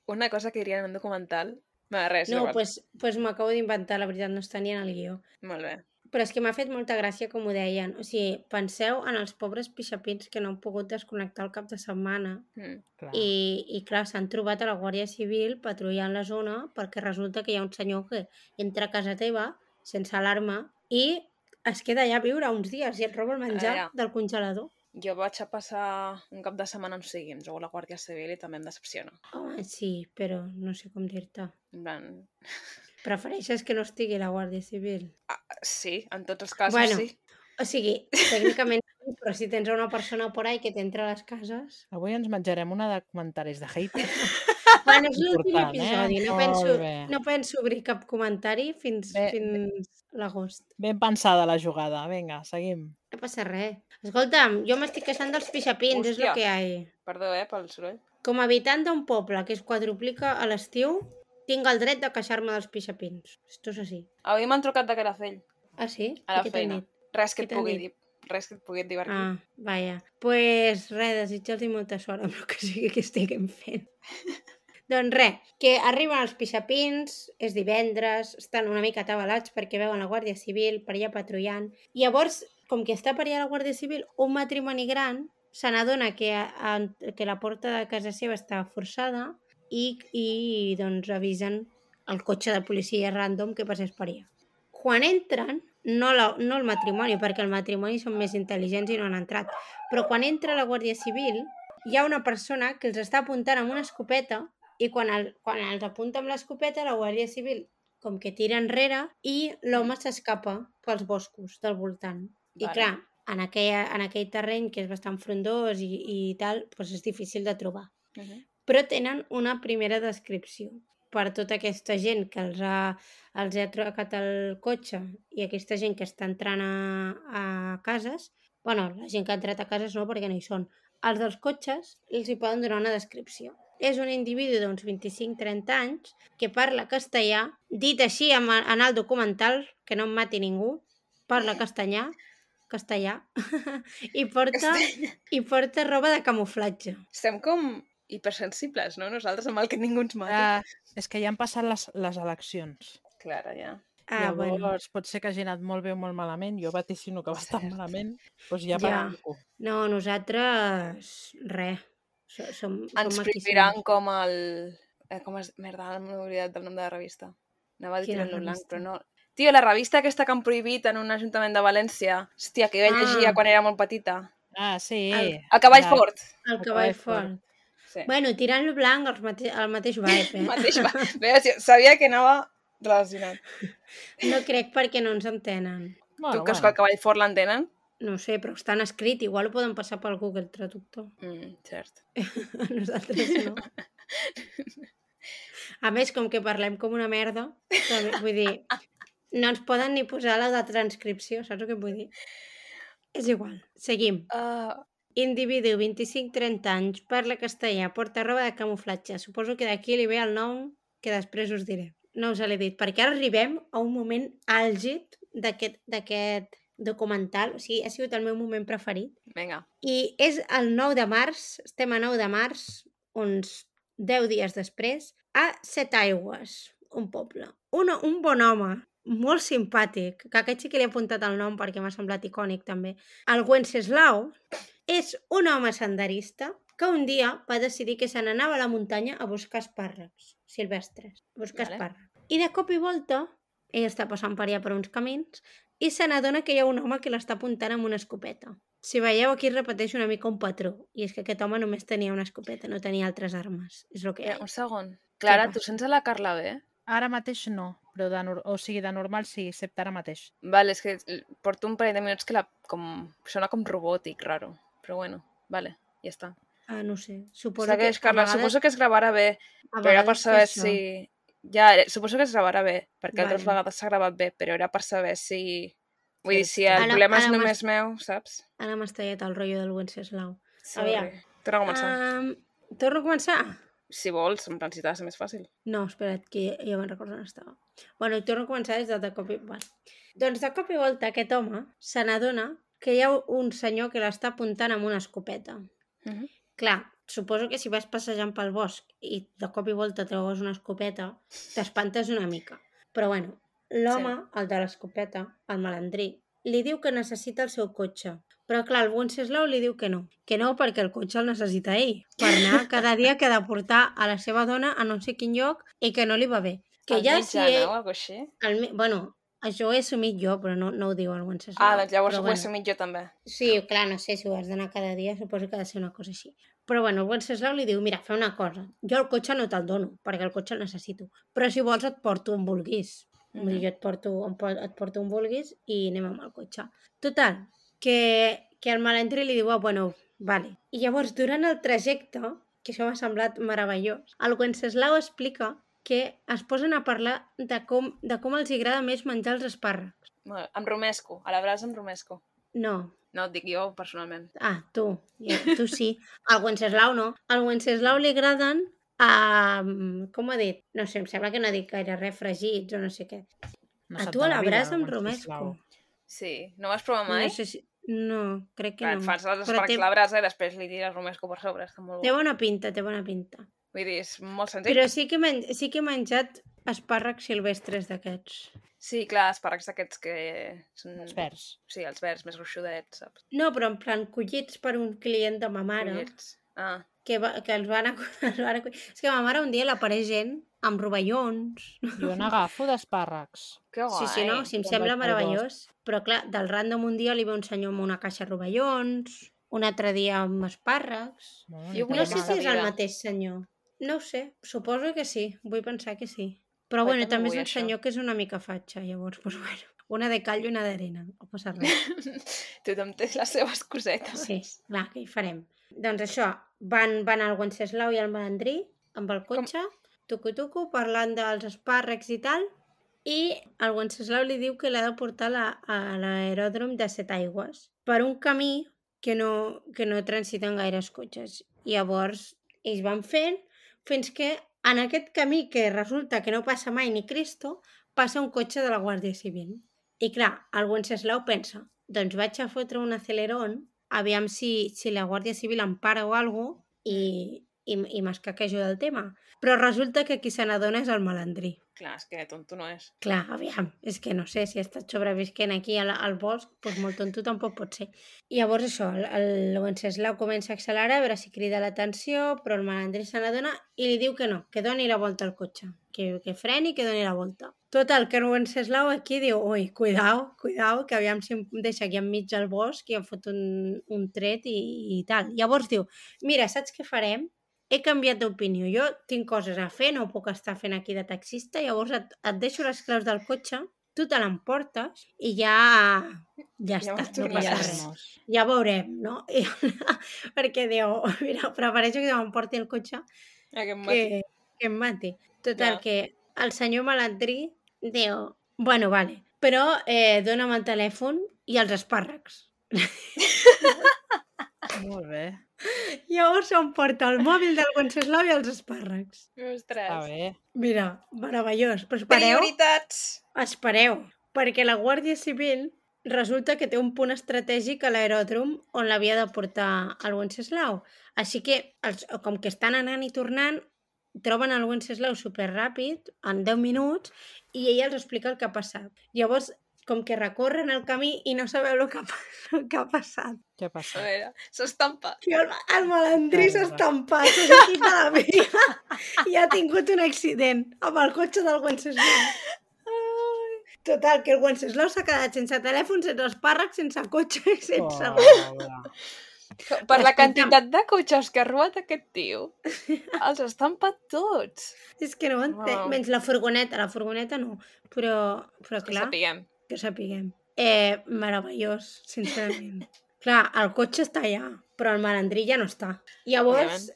Speaker 1: una cosa que dirien en un documental. Va, res,
Speaker 2: No,
Speaker 1: igual.
Speaker 2: pues, pues m'acabo d'inventar, la veritat, no està ni en el guió.
Speaker 1: Molt bé.
Speaker 2: Però és que m'ha fet molta gràcia com ho deien. O sigui, penseu en els pobres pixapins que no han pogut desconnectar el cap de setmana
Speaker 1: Mm.
Speaker 4: Clar.
Speaker 2: I, i clar, s'han trobat a la Guàrdia Civil patrullant la zona perquè resulta que hi ha un senyor que entra a casa teva sense alarma i es queda allà a viure uns dies i et roba el menjar
Speaker 1: veure.
Speaker 2: del congelador.
Speaker 1: Jo vaig a passar un cap de setmana amb Siguims o la Guàrdia Civil i també em decepciona.
Speaker 2: Home, sí, però no sé com dir-te.
Speaker 1: En plan,
Speaker 2: Prefereixes que no estigui la Guàrdia Civil?
Speaker 1: sí, en tots els casos
Speaker 2: Bueno.
Speaker 1: bueno. sí.
Speaker 2: O sigui, tècnicament, però si tens a una persona por ahí que t'entra a les cases...
Speaker 4: Avui ens menjarem una de comentaris de hater.
Speaker 2: Bueno, és l'últim
Speaker 4: Important, eh?
Speaker 2: episodi, no
Speaker 4: Molt
Speaker 2: penso,
Speaker 4: bé.
Speaker 2: no penso obrir cap comentari fins,
Speaker 4: Bé.
Speaker 2: fins l'agost.
Speaker 4: Ben pensada la jugada. Vinga, seguim.
Speaker 2: No passa res. Escolta'm, jo m'estic queixant dels pixapins, és
Speaker 1: Hòstia.
Speaker 2: el que hi ha.
Speaker 1: Perdó, eh, pel soroll.
Speaker 2: Com a habitant d'un poble que es quadruplica a l'estiu, tinc el dret de queixar-me dels pixapins. Esto és així.
Speaker 1: Avui m'han trucat de Calafell.
Speaker 2: Ah, sí?
Speaker 1: A la
Speaker 2: I què t'han
Speaker 1: feina.
Speaker 2: dit?
Speaker 1: Res
Speaker 2: Què
Speaker 1: que et
Speaker 2: t'han
Speaker 1: pugui dir.
Speaker 2: dit?
Speaker 1: Res que et pugui divertir.
Speaker 2: Ah, vaja. Pues res, desitjar-los molta sort amb el que sigui que estiguem fent. doncs res, que arriben els pixapins, és divendres, estan una mica atabalats perquè veuen la Guàrdia Civil per allà patrullant. Llavors, com que està per allà la Guàrdia Civil, un matrimoni gran se n'adona que, a, a, que la porta de casa seva està forçada i, i doncs avisen el cotxe de policia random que passés per allà. Quan entren, no, la, no el matrimoni, perquè el matrimoni són més intel·ligents i no han entrat, però quan entra la Guàrdia Civil hi ha una persona que els està apuntant amb una escopeta i quan, el, quan els apunta amb l'escopeta la Guàrdia Civil com que tira enrere i l'home s'escapa pels boscos del voltant. I
Speaker 1: Vale.
Speaker 2: clar, en aquell, en aquell terreny que és bastant frondós i, i tal, doncs és difícil de trobar
Speaker 1: Mhm.
Speaker 2: però tenen una primera descripció per tota aquesta gent que els ha, els ha trocat el cotxe i aquesta gent que està entrant a, a cases, bueno, la gent que ha entrat a cases no perquè no hi són, els dels cotxes els hi poden donar una descripció. És un individu d'uns 25-30 anys que parla castellà, dit així en, en el documental, que no em mati ningú, parla castellà, castellà, i porta, i porta roba de camuflatge.
Speaker 1: Estem com hipersensibles, no? Nosaltres amb el que ningú ens mata.
Speaker 4: Ah, és que ja han passat les, les eleccions.
Speaker 1: Uh, Clara, ja.
Speaker 2: Ah,
Speaker 4: Llavors,
Speaker 2: bueno.
Speaker 4: pot ser que hagi anat molt bé o molt malament. Jo vaticino que bastant
Speaker 1: Cert.
Speaker 4: malament. Doncs ja,
Speaker 2: Ja.
Speaker 4: ja. Ningú.
Speaker 2: No, nosaltres... Res. So, som,
Speaker 1: Ens
Speaker 2: som
Speaker 1: prohibiran com el... Eh, com es... Merda, m'he oblidat del nom de la revista. Anava a dir
Speaker 2: Quina
Speaker 1: Tirant-lo blanc,
Speaker 2: revista?
Speaker 1: però no. Tio, la revista aquesta que han prohibit en un ajuntament de València. Hòstia, que jo
Speaker 2: Ah.
Speaker 1: llegia quan era molt petita.
Speaker 4: Ah, sí.
Speaker 2: El-
Speaker 1: A cavall
Speaker 4: Ja.
Speaker 1: fort.
Speaker 2: El
Speaker 4: El
Speaker 2: cavall
Speaker 4: cavall
Speaker 2: fort.
Speaker 1: Sí.
Speaker 2: Bueno, tirant-lo blanc al mate el mateix vibe, eh?
Speaker 1: Mateix, va. Veus, jo sabia que anava relacionat.
Speaker 2: No crec perquè no ens entenen.
Speaker 1: tu
Speaker 4: Bueno,
Speaker 1: creus que
Speaker 4: bueno.
Speaker 1: el cavall fort l'entenen?
Speaker 2: No ho sé, però estan escrit. Igual ho poden passar pel Google Traductor.
Speaker 1: Mm, cert.
Speaker 2: A Nosaltres no. A més, com que parlem com una merda, també, vull dir, no ens poden ni posar la de transcripció, saps el que et vull dir? És igual. Seguim.
Speaker 1: Uh,
Speaker 2: Ah. Individu, 25-30 anys, parla castellà, porta roba de camuflatge. Suposo que d'aquí li ve el nom que després us diré. No us l'he dit, perquè ara arribem a un moment àlgid d'aquest d'aquest documental. O sigui, ha sigut el meu moment preferit.
Speaker 1: vinga.
Speaker 2: I és el 9 de març, estem a 9 de març, uns 10 dies després, a Set Aigües, un poble. Un, un bon home, molt simpàtic, que aquest sí que li he apuntat el nom perquè m'ha semblat icònic també, el Wenceslau, és un home senderista que un dia va decidir que se n'anava a la muntanya a buscar espàrrecs silvestres, a buscar
Speaker 1: Vale.
Speaker 2: vale. espàrrecs. I de cop i volta, ell està passant per allà per uns camins i se n'adona que hi ha un home que l'està apuntant amb una escopeta. Si veieu, aquí es repeteix una mica un patró, i és que aquest home només tenia una escopeta, no tenia altres armes. És el que hi
Speaker 1: Eh,
Speaker 2: ha.
Speaker 1: un segon. Clara,
Speaker 2: passa?
Speaker 1: tu sents a la Carla bé?
Speaker 4: Ara mateix no, però de, nor- o sigui, de normal sí, excepte ara mateix.
Speaker 1: Vale, és que l- porto un parell de minuts que la, com, sona com robòtic, raro. Però bueno, vale, ja està.
Speaker 2: Ah, no ho sé. Suposo
Speaker 1: Segueix,
Speaker 2: que, a
Speaker 1: Carla.
Speaker 2: vegades-
Speaker 1: Suposo que es gravarà bé,
Speaker 2: a
Speaker 1: però era per
Speaker 2: vegades fa
Speaker 1: saber
Speaker 2: això.
Speaker 1: si... Ja, eh, suposo que es gravarà bé, perquè altres
Speaker 2: Vale.
Speaker 1: vegades s'ha gravat bé, però era per saber si... Vull dir, si
Speaker 4: Sí,
Speaker 1: el
Speaker 2: Ara-
Speaker 1: problema és
Speaker 2: ara m'has-
Speaker 1: només meu, saps?
Speaker 2: Ara m'has tallat el rotllo del Wenceslau.
Speaker 1: Sorry.
Speaker 2: Aviam.
Speaker 1: Torna a començar.
Speaker 2: Um, torno a començar?
Speaker 1: Si vols, en plan, si t'ha de ser més fàcil.
Speaker 2: No, espera't, que ja me'n recordo on estava. Bueno, i torno a començar des de, de cop i... Bueno. Doncs de cop i volta aquest home se n'adona que hi ha un senyor que l'està apuntant amb una escopeta.
Speaker 1: Mhm.
Speaker 2: Clar, suposo que si vas passejant pel bosc i de cop i volta trobes una escopeta, t'espantes una mica. Però bueno, l'home, sí. el de l'escopeta, el malandrí, li diu que necessita el seu cotxe. Però clar, el Wenceslau li diu que no. Que no perquè el cotxe el necessita ell. Per anar cada dia que ha de portar a la seva dona a no sé quin lloc i que no li va bé. Que
Speaker 1: El
Speaker 2: ja
Speaker 1: metge,
Speaker 2: si ell...
Speaker 1: no? O alguna així?
Speaker 2: El, me- bueno, això ho he assumit jo, però no, no ho diu el Wenceslau.
Speaker 1: Ah, doncs llavors
Speaker 2: però
Speaker 1: ho he assumit jo també.
Speaker 2: Sí, clar, no sé si ho has d'anar cada dia, suposo que ha de ser una cosa així. Però bueno, el Wenceslau li diu, mira, fa una cosa, jo el cotxe no te'l dono, perquè el cotxe el necessito, però si vols et porto on vulguis. Mm
Speaker 1: Mhm.
Speaker 2: -hmm. Jo et porto, on, po- et porto on vulguis i anem amb el cotxe. Total, que, que el malandrí li diu, ah, bueno, vale. I llavors, durant el trajecte, que això m'ha semblat meravellós, el Wenceslau explica que es posen a parlar de com, de com els hi agrada més menjar els espàrrecs.
Speaker 1: Molt. Em romesco, a la brasa em romesco.
Speaker 2: No,
Speaker 1: No, et dic jo personalment.
Speaker 2: Ah, tu. Ja, tu sí. Al Wenceslau no. Al Wenceslau li agraden a... Com ho he dit? No sé, em sembla que no he dit gaire res, fregits o no sé què.
Speaker 4: No
Speaker 2: a
Speaker 4: sap
Speaker 2: tu
Speaker 4: de
Speaker 2: a
Speaker 4: la vida,
Speaker 2: l'abraç
Speaker 4: doncs,
Speaker 2: amb
Speaker 4: el
Speaker 2: romesco.
Speaker 4: Wenceslau.
Speaker 1: Sí, no vas provar mai?
Speaker 2: No sé si... No, crec que
Speaker 1: Clar,
Speaker 2: no.
Speaker 1: Et fas les
Speaker 2: Però
Speaker 1: esparcs
Speaker 2: té-
Speaker 1: a la brasa i després li tires romesco per sobre. Està molt
Speaker 2: Té
Speaker 1: bo.
Speaker 2: bona pinta, té bona pinta.
Speaker 1: Vull dir, és molt senzill.
Speaker 2: Però sí que, he men... sí que he menjat espàrrecs silvestres d'aquests.
Speaker 1: Sí, clar, espàrrecs aquests que són...
Speaker 4: Els verds.
Speaker 1: Sí, els verds, més gruixudets, saps?
Speaker 2: No, però en plan collits per un client de ma mare.
Speaker 1: Collits. Ah,
Speaker 2: Que, va, que els van a... Els van a... És que ma mare un dia l'apareix gent amb rovellons,
Speaker 4: Jo n'agafo d'espàrrecs.
Speaker 1: que guai.
Speaker 2: Sí, sí, no, sí, em
Speaker 4: Quan
Speaker 2: sembla
Speaker 4: vaig pel bosc.
Speaker 2: meravellós. Però clar, del random un dia li ve un senyor amb una caixa de rovellons, un altre dia amb espàrrecs...
Speaker 4: No,
Speaker 1: Jo
Speaker 4: ni
Speaker 1: Una
Speaker 2: No
Speaker 4: tan
Speaker 2: sé
Speaker 1: mala
Speaker 2: si
Speaker 4: mal.
Speaker 2: és el
Speaker 1: vida.
Speaker 2: mateix senyor. No ho sé, suposo que sí, vull pensar que sí. Però
Speaker 1: Ai,
Speaker 2: bueno,
Speaker 1: també
Speaker 2: també és
Speaker 1: vull
Speaker 2: un
Speaker 1: això.
Speaker 2: senyor que és una mica fatxa, llavors, doncs bueno. Una de call i una d'arena, no passa res.
Speaker 1: Tothom té les seves cosetes.
Speaker 2: Sí, clar, què hi farem? Doncs això, van, van al Wenceslau i al Malandrí amb el
Speaker 1: Com-
Speaker 2: cotxe, tucu-tucu, parlant dels espàrrecs i tal, i el Wenceslau li diu que l'ha de portar a la- a l'aeròdrom de Setaigües per un camí que no, que no transiten gaires cotxes. I llavors ells van fent fins que en aquest camí que resulta que no passa mai ni Cristo, passa un cotxe de la Guàrdia Civil. I clar, el Wenceslau pensa, doncs vaig a fotre un acelerón, aviam si, si la Guàrdia Civil em para o alguna cosa i, i, i m'escaquejo del tema. Però resulta que qui se n'adona és el malandrí.
Speaker 1: Clar, és que tonto no és.
Speaker 2: Clar, aviam, és que no sé, si ha estat sobrevisquent aquí al, al bosc, doncs molt tonto tampoc pot ser. I llavors això, el, el Wenceslau comença a accelerar, a veure si crida l'atenció, però el malandrí se n'adona i li diu que no, que doni la volta al cotxe, que, que freni i que doni la volta. Total, que el Wenceslau aquí diu, ui, cuidao, cuidao, que aviam si em deixa aquí enmig del bosc i em fot un, un tret i, i tal. Llavors diu, mira, saps què farem? he canviat d'opinió, jo tinc coses a fer, no puc estar fent aquí de taxista, llavors et, et deixo les claus del cotxe, tu te l'emportes i ja, ja
Speaker 1: Llavors
Speaker 2: està, no
Speaker 1: tornaràs.
Speaker 2: passa
Speaker 1: res.
Speaker 2: res.
Speaker 4: Llarnos.
Speaker 2: Ja veurem, no? I, perquè diu, mira, prefereixo que se m'emporti el cotxe
Speaker 1: Aquest matí.
Speaker 2: que, que em mati. Total,
Speaker 1: Ja.
Speaker 2: que el senyor malandrí diu, bueno, vale, però eh, dona'm el telèfon i els espàrrecs.
Speaker 4: Molt bé.
Speaker 2: Llavors s'emporta el mòbil del Wenceslau i els espàrrecs.
Speaker 4: Està
Speaker 1: Ostres.
Speaker 4: bé.
Speaker 2: Mira, meravellós. Però espereu,
Speaker 1: Prioritats.
Speaker 2: Espereu, perquè la Guàrdia Civil resulta que té un punt estratègic a l'aeròdrom on l'havia de portar el Wenceslau. Així que, els, com que estan anant i tornant, troben el Wenceslau superràpid, en 10 minuts, i ella els explica el que ha passat. Llavors, com que recorren el camí i no sabeu el que ha, pa- el que ha passat.
Speaker 4: Què passa?
Speaker 1: A veure, s'estampa.
Speaker 2: Tio, el, el malandrí
Speaker 4: Ai,
Speaker 2: s'ha
Speaker 4: va.
Speaker 2: estampat, s'ha sortit de la via i ha tingut un accident amb el cotxe del Wenceslau. Total, que el Wenceslau s'ha quedat sense telèfon, sense espàrrecs, sense cotxe i sense...
Speaker 1: Oh.
Speaker 2: res.
Speaker 4: Pobra.
Speaker 1: Per la
Speaker 2: Escolta'm.
Speaker 1: quantitat de cotxes que ha robat aquest tio, els estampa tots.
Speaker 2: És que no ho entenc.
Speaker 1: Wow.
Speaker 2: Menys la furgoneta, la furgoneta no. Però, però
Speaker 1: Que
Speaker 2: clar,
Speaker 1: sapiguem.
Speaker 2: que sapiguem. Eh, meravellós, sincerament. clar, el cotxe està allà, però el malandrí ja no està. Llavors,
Speaker 1: Òbviament.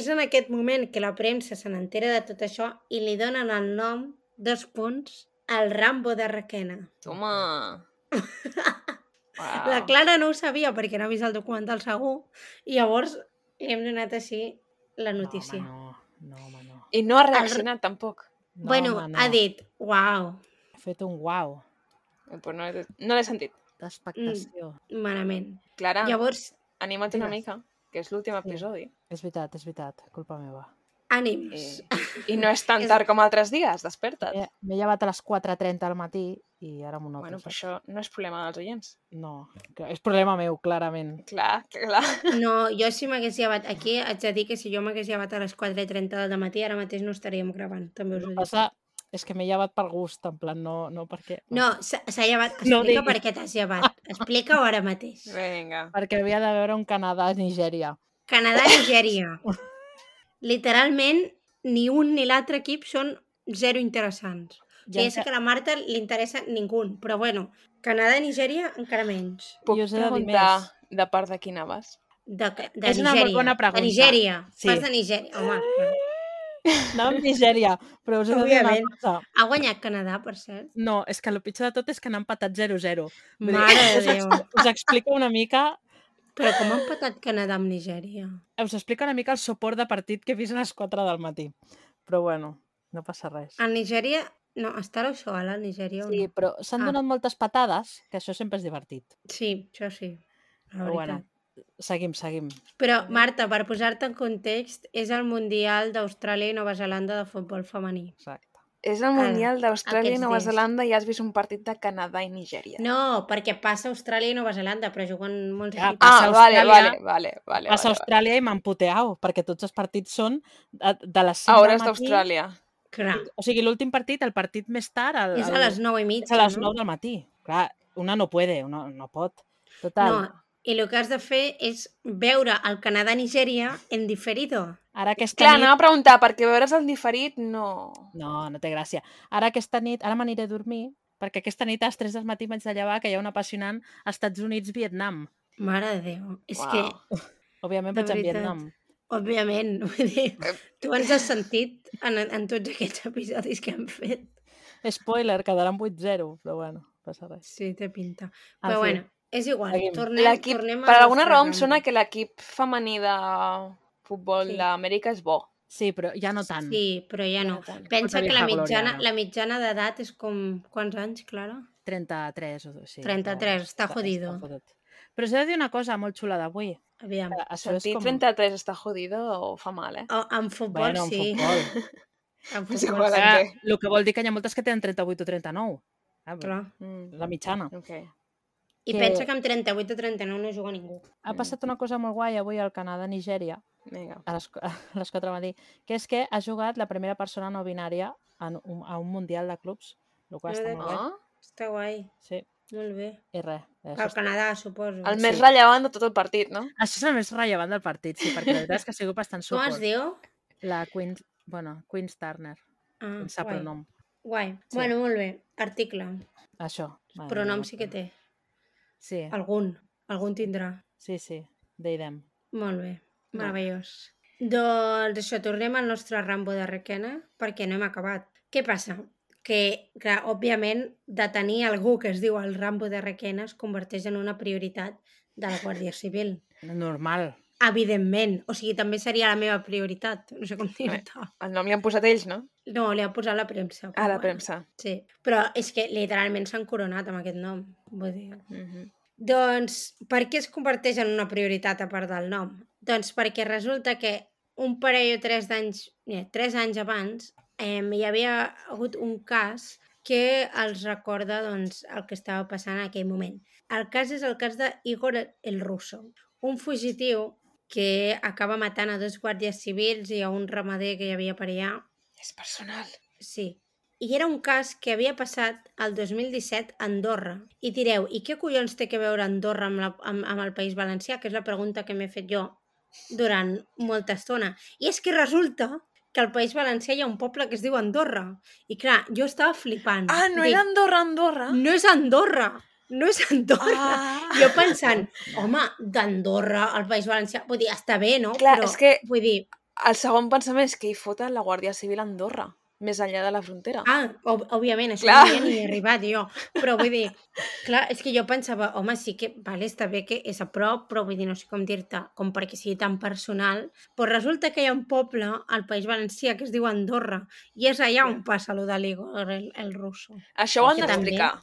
Speaker 2: és en aquest moment que la premsa se n'entera de tot això i li donen el nom, dos punts, el Rambo de Requena.
Speaker 1: Toma.
Speaker 4: Ah.
Speaker 1: Wow.
Speaker 2: La Clara no ho sabia perquè no ha vist el documental segur i llavors li hem donat així la notícia.
Speaker 4: No, home, no. no, home, no.
Speaker 1: I no ha reaccionat tampoc.
Speaker 4: no
Speaker 2: bueno,
Speaker 4: home, no.
Speaker 2: ha dit, uau,
Speaker 4: Ha fet un guau
Speaker 1: Eh, Però no, l'he- no l'he sentit.
Speaker 4: d'expectació.
Speaker 2: malament.
Speaker 1: Clara, Llavors...
Speaker 2: Llavors,
Speaker 1: anima't una
Speaker 4: digues.
Speaker 1: mica, que és l'últim
Speaker 4: Sí.
Speaker 1: episodi.
Speaker 4: És veritat, és veritat. Culpa meva.
Speaker 2: ànims.
Speaker 4: Eh,
Speaker 1: I, I no és tan
Speaker 2: És-
Speaker 1: tard com altres dies,
Speaker 2: Eh,
Speaker 1: desperta't.
Speaker 4: M'he- Eh, M'he llevat a les 4.30 del matí i ara m'ho noto.
Speaker 1: Bueno, però
Speaker 4: saps?
Speaker 1: això no és problema dels oients.
Speaker 4: No, que- és problema meu, clarament.
Speaker 1: Clar, clar.
Speaker 2: No, jo si m'hagués llevat... Aquí haig de dir que si jo m'hagués llevat a les 4.30 del matí, ara mateix no estaríem gravant, també us ho
Speaker 4: El
Speaker 2: dic.
Speaker 4: que passa és que m'he llevat per gust, en plan, no, no perquè...
Speaker 2: No, s'ha s'ha llevat...
Speaker 4: No
Speaker 2: Explica
Speaker 4: diguis.
Speaker 2: per què t'has llevat. Explica-ho ara mateix.
Speaker 1: Vinga.
Speaker 4: Perquè havia de veure un Canadà-Nigèria.
Speaker 2: Canadà i Nigèria. Literalment, ni un ni l'altre equip són zero interessants.
Speaker 4: Jo
Speaker 2: Ja, ja sé
Speaker 4: enca-
Speaker 2: que a la Marta li interessa ningú, però bueno, Canadà i Nigèria encara menys.
Speaker 1: Puc
Speaker 4: us he de dir
Speaker 1: preguntar
Speaker 4: més.
Speaker 1: de part de quina vas?
Speaker 2: De, de
Speaker 4: És una
Speaker 2: Nigèria.
Speaker 4: molt bona pregunta.
Speaker 2: De Nigèria.
Speaker 4: Sí.
Speaker 2: Sí. Pas de Nigèria. Home, clar.
Speaker 4: No amb Nigèria, però us he de dir una
Speaker 2: Òbviament.
Speaker 4: cosa.
Speaker 2: ha guanyat Canadà, per cert.
Speaker 4: No, és que el pitjor de tot és que n'han patat 0-0. Vull dir,
Speaker 2: Mare de
Speaker 4: us, ex-
Speaker 2: Déu.
Speaker 4: us explico una mica
Speaker 2: Però com han patat Canadà amb Nigèria?
Speaker 4: us explico una mica el suport de partit que he vist a les 4 del matí. Però bueno, no passa res.
Speaker 2: A Nigèria... No, està a l'Oxoala, a Nigèria? o
Speaker 4: Sí,
Speaker 2: Ah, no?
Speaker 4: però s'han
Speaker 2: Ah.
Speaker 4: donat moltes patades, que això sempre és divertit.
Speaker 2: sí, això sí. La
Speaker 4: Però bueno,
Speaker 2: veritat.
Speaker 4: seguim, seguim.
Speaker 2: Però, Marta, per posar-te en context, és el Mundial d'Austràlia i Nova Zelanda de futbol femení.
Speaker 4: Exacte.
Speaker 1: És el
Speaker 2: Ara,
Speaker 1: Mundial d'Austràlia i
Speaker 2: Ah, aquests
Speaker 1: Nova
Speaker 2: dies.
Speaker 1: Zelanda i has vist un partit de Canadà i Nigèria.
Speaker 2: No, perquè passa a Austràlia i Nova Zelanda, però juguen molts
Speaker 4: Ja,
Speaker 2: equips.
Speaker 1: Ah,
Speaker 4: Passa a
Speaker 1: vale,
Speaker 4: Austràlia-
Speaker 1: vale, vale, vale.
Speaker 4: Passa a
Speaker 1: vale, vale.
Speaker 4: Austràlia i m'emputeau, perquè tots els partits són de, de les 5
Speaker 1: A hores
Speaker 4: del matí.
Speaker 1: d'Austràlia.
Speaker 2: Clar,
Speaker 4: O sigui, l'últim partit, el partit més tard... El,
Speaker 2: és a
Speaker 4: el-
Speaker 2: les 9 i
Speaker 4: és
Speaker 2: mitja,
Speaker 4: a les 9
Speaker 2: no?
Speaker 4: del matí. Clar, una no puede, una no pot. Total,
Speaker 2: No, i el que has de fer és veure el Canadà-Nigèria en diferido.
Speaker 4: ara aquesta
Speaker 1: Clar,
Speaker 4: nit...
Speaker 1: anava a preguntar, perquè veure's el diferit, no...
Speaker 4: No, no té gràcia. Ara aquesta nit, ara m'aniré a dormir, perquè aquesta nit a les 3 del matí m'haig de llevar que hi ha un apassionant a Estats Units-Vietnam.
Speaker 2: Mare de Déu. És
Speaker 1: Uau.
Speaker 2: que
Speaker 4: Òbviament
Speaker 2: De
Speaker 4: vaig a
Speaker 2: veritat.
Speaker 4: Vietnam.
Speaker 2: Òbviament, vull
Speaker 4: Eh,
Speaker 2: dir, tu ens has sentit en, en tots aquests episodis que hem fet.
Speaker 4: Spoiler, quedaran 8-0, però bueno, passa res. Ah,
Speaker 2: Sí, té pinta.
Speaker 4: En
Speaker 2: Però
Speaker 4: fi.
Speaker 2: bueno, és igual.
Speaker 4: Seguim.
Speaker 2: Tornem,
Speaker 1: L'equip,
Speaker 2: tornem a
Speaker 1: per alguna
Speaker 2: nostra
Speaker 1: raó em
Speaker 2: rambla.
Speaker 1: sona que l'equip femení de futbol
Speaker 2: Sí.
Speaker 1: d'Amèrica és bo.
Speaker 4: Sí, però ja no tant.
Speaker 2: Sí, però ja no.
Speaker 1: tant.
Speaker 2: Pensa
Speaker 4: Una
Speaker 2: que la
Speaker 4: vieja glòria,
Speaker 2: mitjana,
Speaker 4: no?
Speaker 2: la mitjana d'edat és com... Quants anys, Clara?
Speaker 4: 33 o sí.
Speaker 2: 33, està jodido.
Speaker 4: fotut. Però s'ha de dir una cosa molt xula d'avui.
Speaker 2: Aviam.
Speaker 4: que Això és
Speaker 1: Sentir
Speaker 4: com...
Speaker 1: 33 està jodido o fa mal, eh?
Speaker 2: O, en futbol,
Speaker 4: Bueno, en
Speaker 2: sí.
Speaker 4: futbol. eh?
Speaker 2: En
Speaker 1: És
Speaker 2: futbol,
Speaker 1: igual,
Speaker 2: sí.
Speaker 1: Clar.
Speaker 4: Clar, el que vol dir que hi ha moltes que tenen 38 o 39. Ah, però
Speaker 2: Clar.
Speaker 1: Mm.
Speaker 4: La mitjana.
Speaker 1: Ok.
Speaker 2: I
Speaker 4: Que-
Speaker 2: pensa que amb 38 o 39 no juga ningú.
Speaker 4: Ha
Speaker 1: Mm.
Speaker 4: passat una cosa molt guai avui al Canadà-Nigèria,
Speaker 1: Vinga.
Speaker 4: a les, a les 4 del matí, que és que ha jugat la primera persona no binària en un, a un Mundial de Clubs, el qual
Speaker 2: No
Speaker 4: està
Speaker 2: de-
Speaker 4: molt bé.
Speaker 1: Ah,
Speaker 2: Està guai.
Speaker 4: Sí,
Speaker 2: Molt bé.
Speaker 4: i res. Això,
Speaker 2: Al
Speaker 4: és,
Speaker 2: Canadà, suposo.
Speaker 1: el més
Speaker 4: Sí.
Speaker 1: rellevant de tot el partit, no?
Speaker 4: això és el més rellevant del partit, sí, perquè la veritat és que ha sigut bastant
Speaker 2: Com es
Speaker 4: suport.
Speaker 2: diu?
Speaker 4: La Queen, bueno, Queen Turner,
Speaker 2: Ah,
Speaker 4: em sap
Speaker 2: guai.
Speaker 4: el nom.
Speaker 2: Guai.
Speaker 4: Sí.
Speaker 2: Sí. Bueno, molt bé. Article.
Speaker 4: Això.
Speaker 2: Vale,
Speaker 4: Madre
Speaker 2: Però nom
Speaker 4: meva,
Speaker 2: sí que té.
Speaker 4: Sí,
Speaker 2: Algun. Algun tindrà.
Speaker 4: sí, sí, they them.
Speaker 2: Molt bé.
Speaker 4: Vale.
Speaker 2: Meravellós. Doncs això, tornem al nostre Rambo de Requena, perquè no hem acabat. Què passa? Que, clar, òbviament, detenir algú que es diu el Rambo de Requena es converteix en una prioritat de la Guàrdia Civil.
Speaker 4: Normal.
Speaker 2: Evidentment. O sigui, també seria la meva prioritat. No sé com dir-te.
Speaker 1: El nom li han posat ells, no?
Speaker 2: No, li ha posat Ah, la premsa.
Speaker 1: A
Speaker 2: però
Speaker 1: la
Speaker 2: bueno.
Speaker 1: premsa.
Speaker 2: Sí. Però és que literalment s'han coronat amb aquest nom. Vull dir...
Speaker 1: Mhm.
Speaker 2: Doncs per què es converteix en una prioritat a part del nom? Doncs perquè resulta que un parell o tres d'anys, eh, tres anys abans, eh, hi havia hagut un cas que els recorda doncs, el que estava passant en aquell moment. El cas és el cas d'Igor el Russo, un fugitiu que acaba matant a dos guàrdies civils i a un ramader que hi havia per allà.
Speaker 1: És personal.
Speaker 2: Sí. I era un cas que havia passat el 2017 a Andorra. I direu, i què collons té que veure Andorra amb, la, amb, amb el País Valencià? Que és la pregunta que m'he fet jo durant molta estona. I és que resulta que al País Valencià hi ha un poble que es diu Andorra. I clar, jo estava flipant.
Speaker 1: Ah, no
Speaker 2: Dic,
Speaker 1: era Andorra, Andorra?
Speaker 2: No és Andorra! No és Andorra!
Speaker 1: Ah.
Speaker 2: Jo pensant, home, d'Andorra al País Valencià... Vull dir, està bé, no?
Speaker 1: Clar, és que-
Speaker 2: Vull dir,
Speaker 1: El segon pensament és que hi foten la Guàrdia Civil a Andorra, més enllà de la frontera.
Speaker 2: Ah, ob òbviament, això
Speaker 1: Clar.
Speaker 2: clar. no havia ni arribat jo. Però vull dir, clar, és que jo pensava, home, sí que, vale, està bé que és a prop, però vull dir, no sé com dir-te, com perquè sigui tan personal. Però resulta que hi ha un poble al País Valencià que es diu Andorra i és allà on passa allò de l'Igo, el, el russo.
Speaker 1: Això ho han
Speaker 2: Perquè
Speaker 1: d'explicar.
Speaker 5: Clar,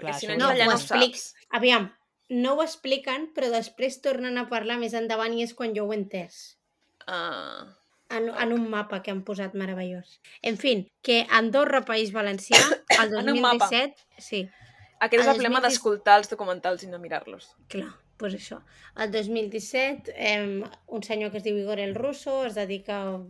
Speaker 1: Perquè si
Speaker 5: això
Speaker 1: no,
Speaker 5: ho
Speaker 1: no,
Speaker 2: No,
Speaker 1: allà
Speaker 2: ho
Speaker 1: no ho
Speaker 2: explic.
Speaker 1: saps.
Speaker 2: Aviam, no ho expliquen, però després tornen a parlar més endavant i és quan jo ho he entès.
Speaker 1: Ah.
Speaker 2: En, en un mapa que han posat meravellós. En fi, que Andorra, País Valencià, el
Speaker 1: En un mapa.
Speaker 2: 2017... Sí,
Speaker 1: Aquest Ah, és el
Speaker 2: El
Speaker 1: problema
Speaker 2: 2017
Speaker 1: d'escoltar els documentals i no mirar-los.
Speaker 2: Clar, doncs això. El 2017, eh, un senyor que es diu Igor el Russo es dedica a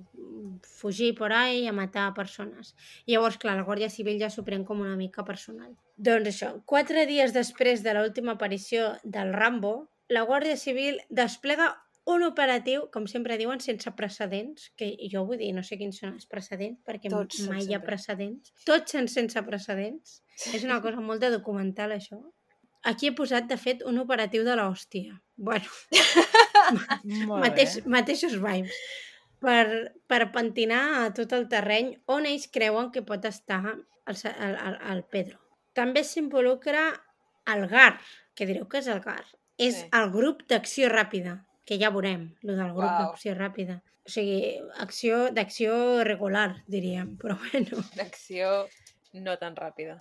Speaker 2: fugir por ahí i a matar persones. Llavors, clar, la Guàrdia Civil ja s'ho pren com una mica personal. Doncs això, quatre dies després de l'última aparició del Rambo, la Guàrdia Civil desplega un operatiu, com sempre diuen, sense precedents, que jo vull dir, no sé quins són els precedents, perquè
Speaker 1: Tots
Speaker 2: Tots
Speaker 1: són
Speaker 2: mai hi ha
Speaker 1: sempre.
Speaker 2: precedents. Tots són sense precedents. És una cosa molt de documental, això. Aquí he posat, de fet, un operatiu de l'hòstia. Bueno,
Speaker 4: Molt
Speaker 2: mateix,
Speaker 4: bé.
Speaker 2: mateixos vibes. Per, per pentinar a tot el terreny on ells creuen que pot estar el, sa- el, el, el Pedro. També s'involucra el GAR, que direu que és el GAR. És
Speaker 1: Sí.
Speaker 2: el grup d'acció ràpida, que ja veurem, el del grup
Speaker 1: Uau.
Speaker 2: d'acció ràpida. O sigui, acció d'acció regular, diríem, però bueno.
Speaker 1: D'acció no tan ràpida.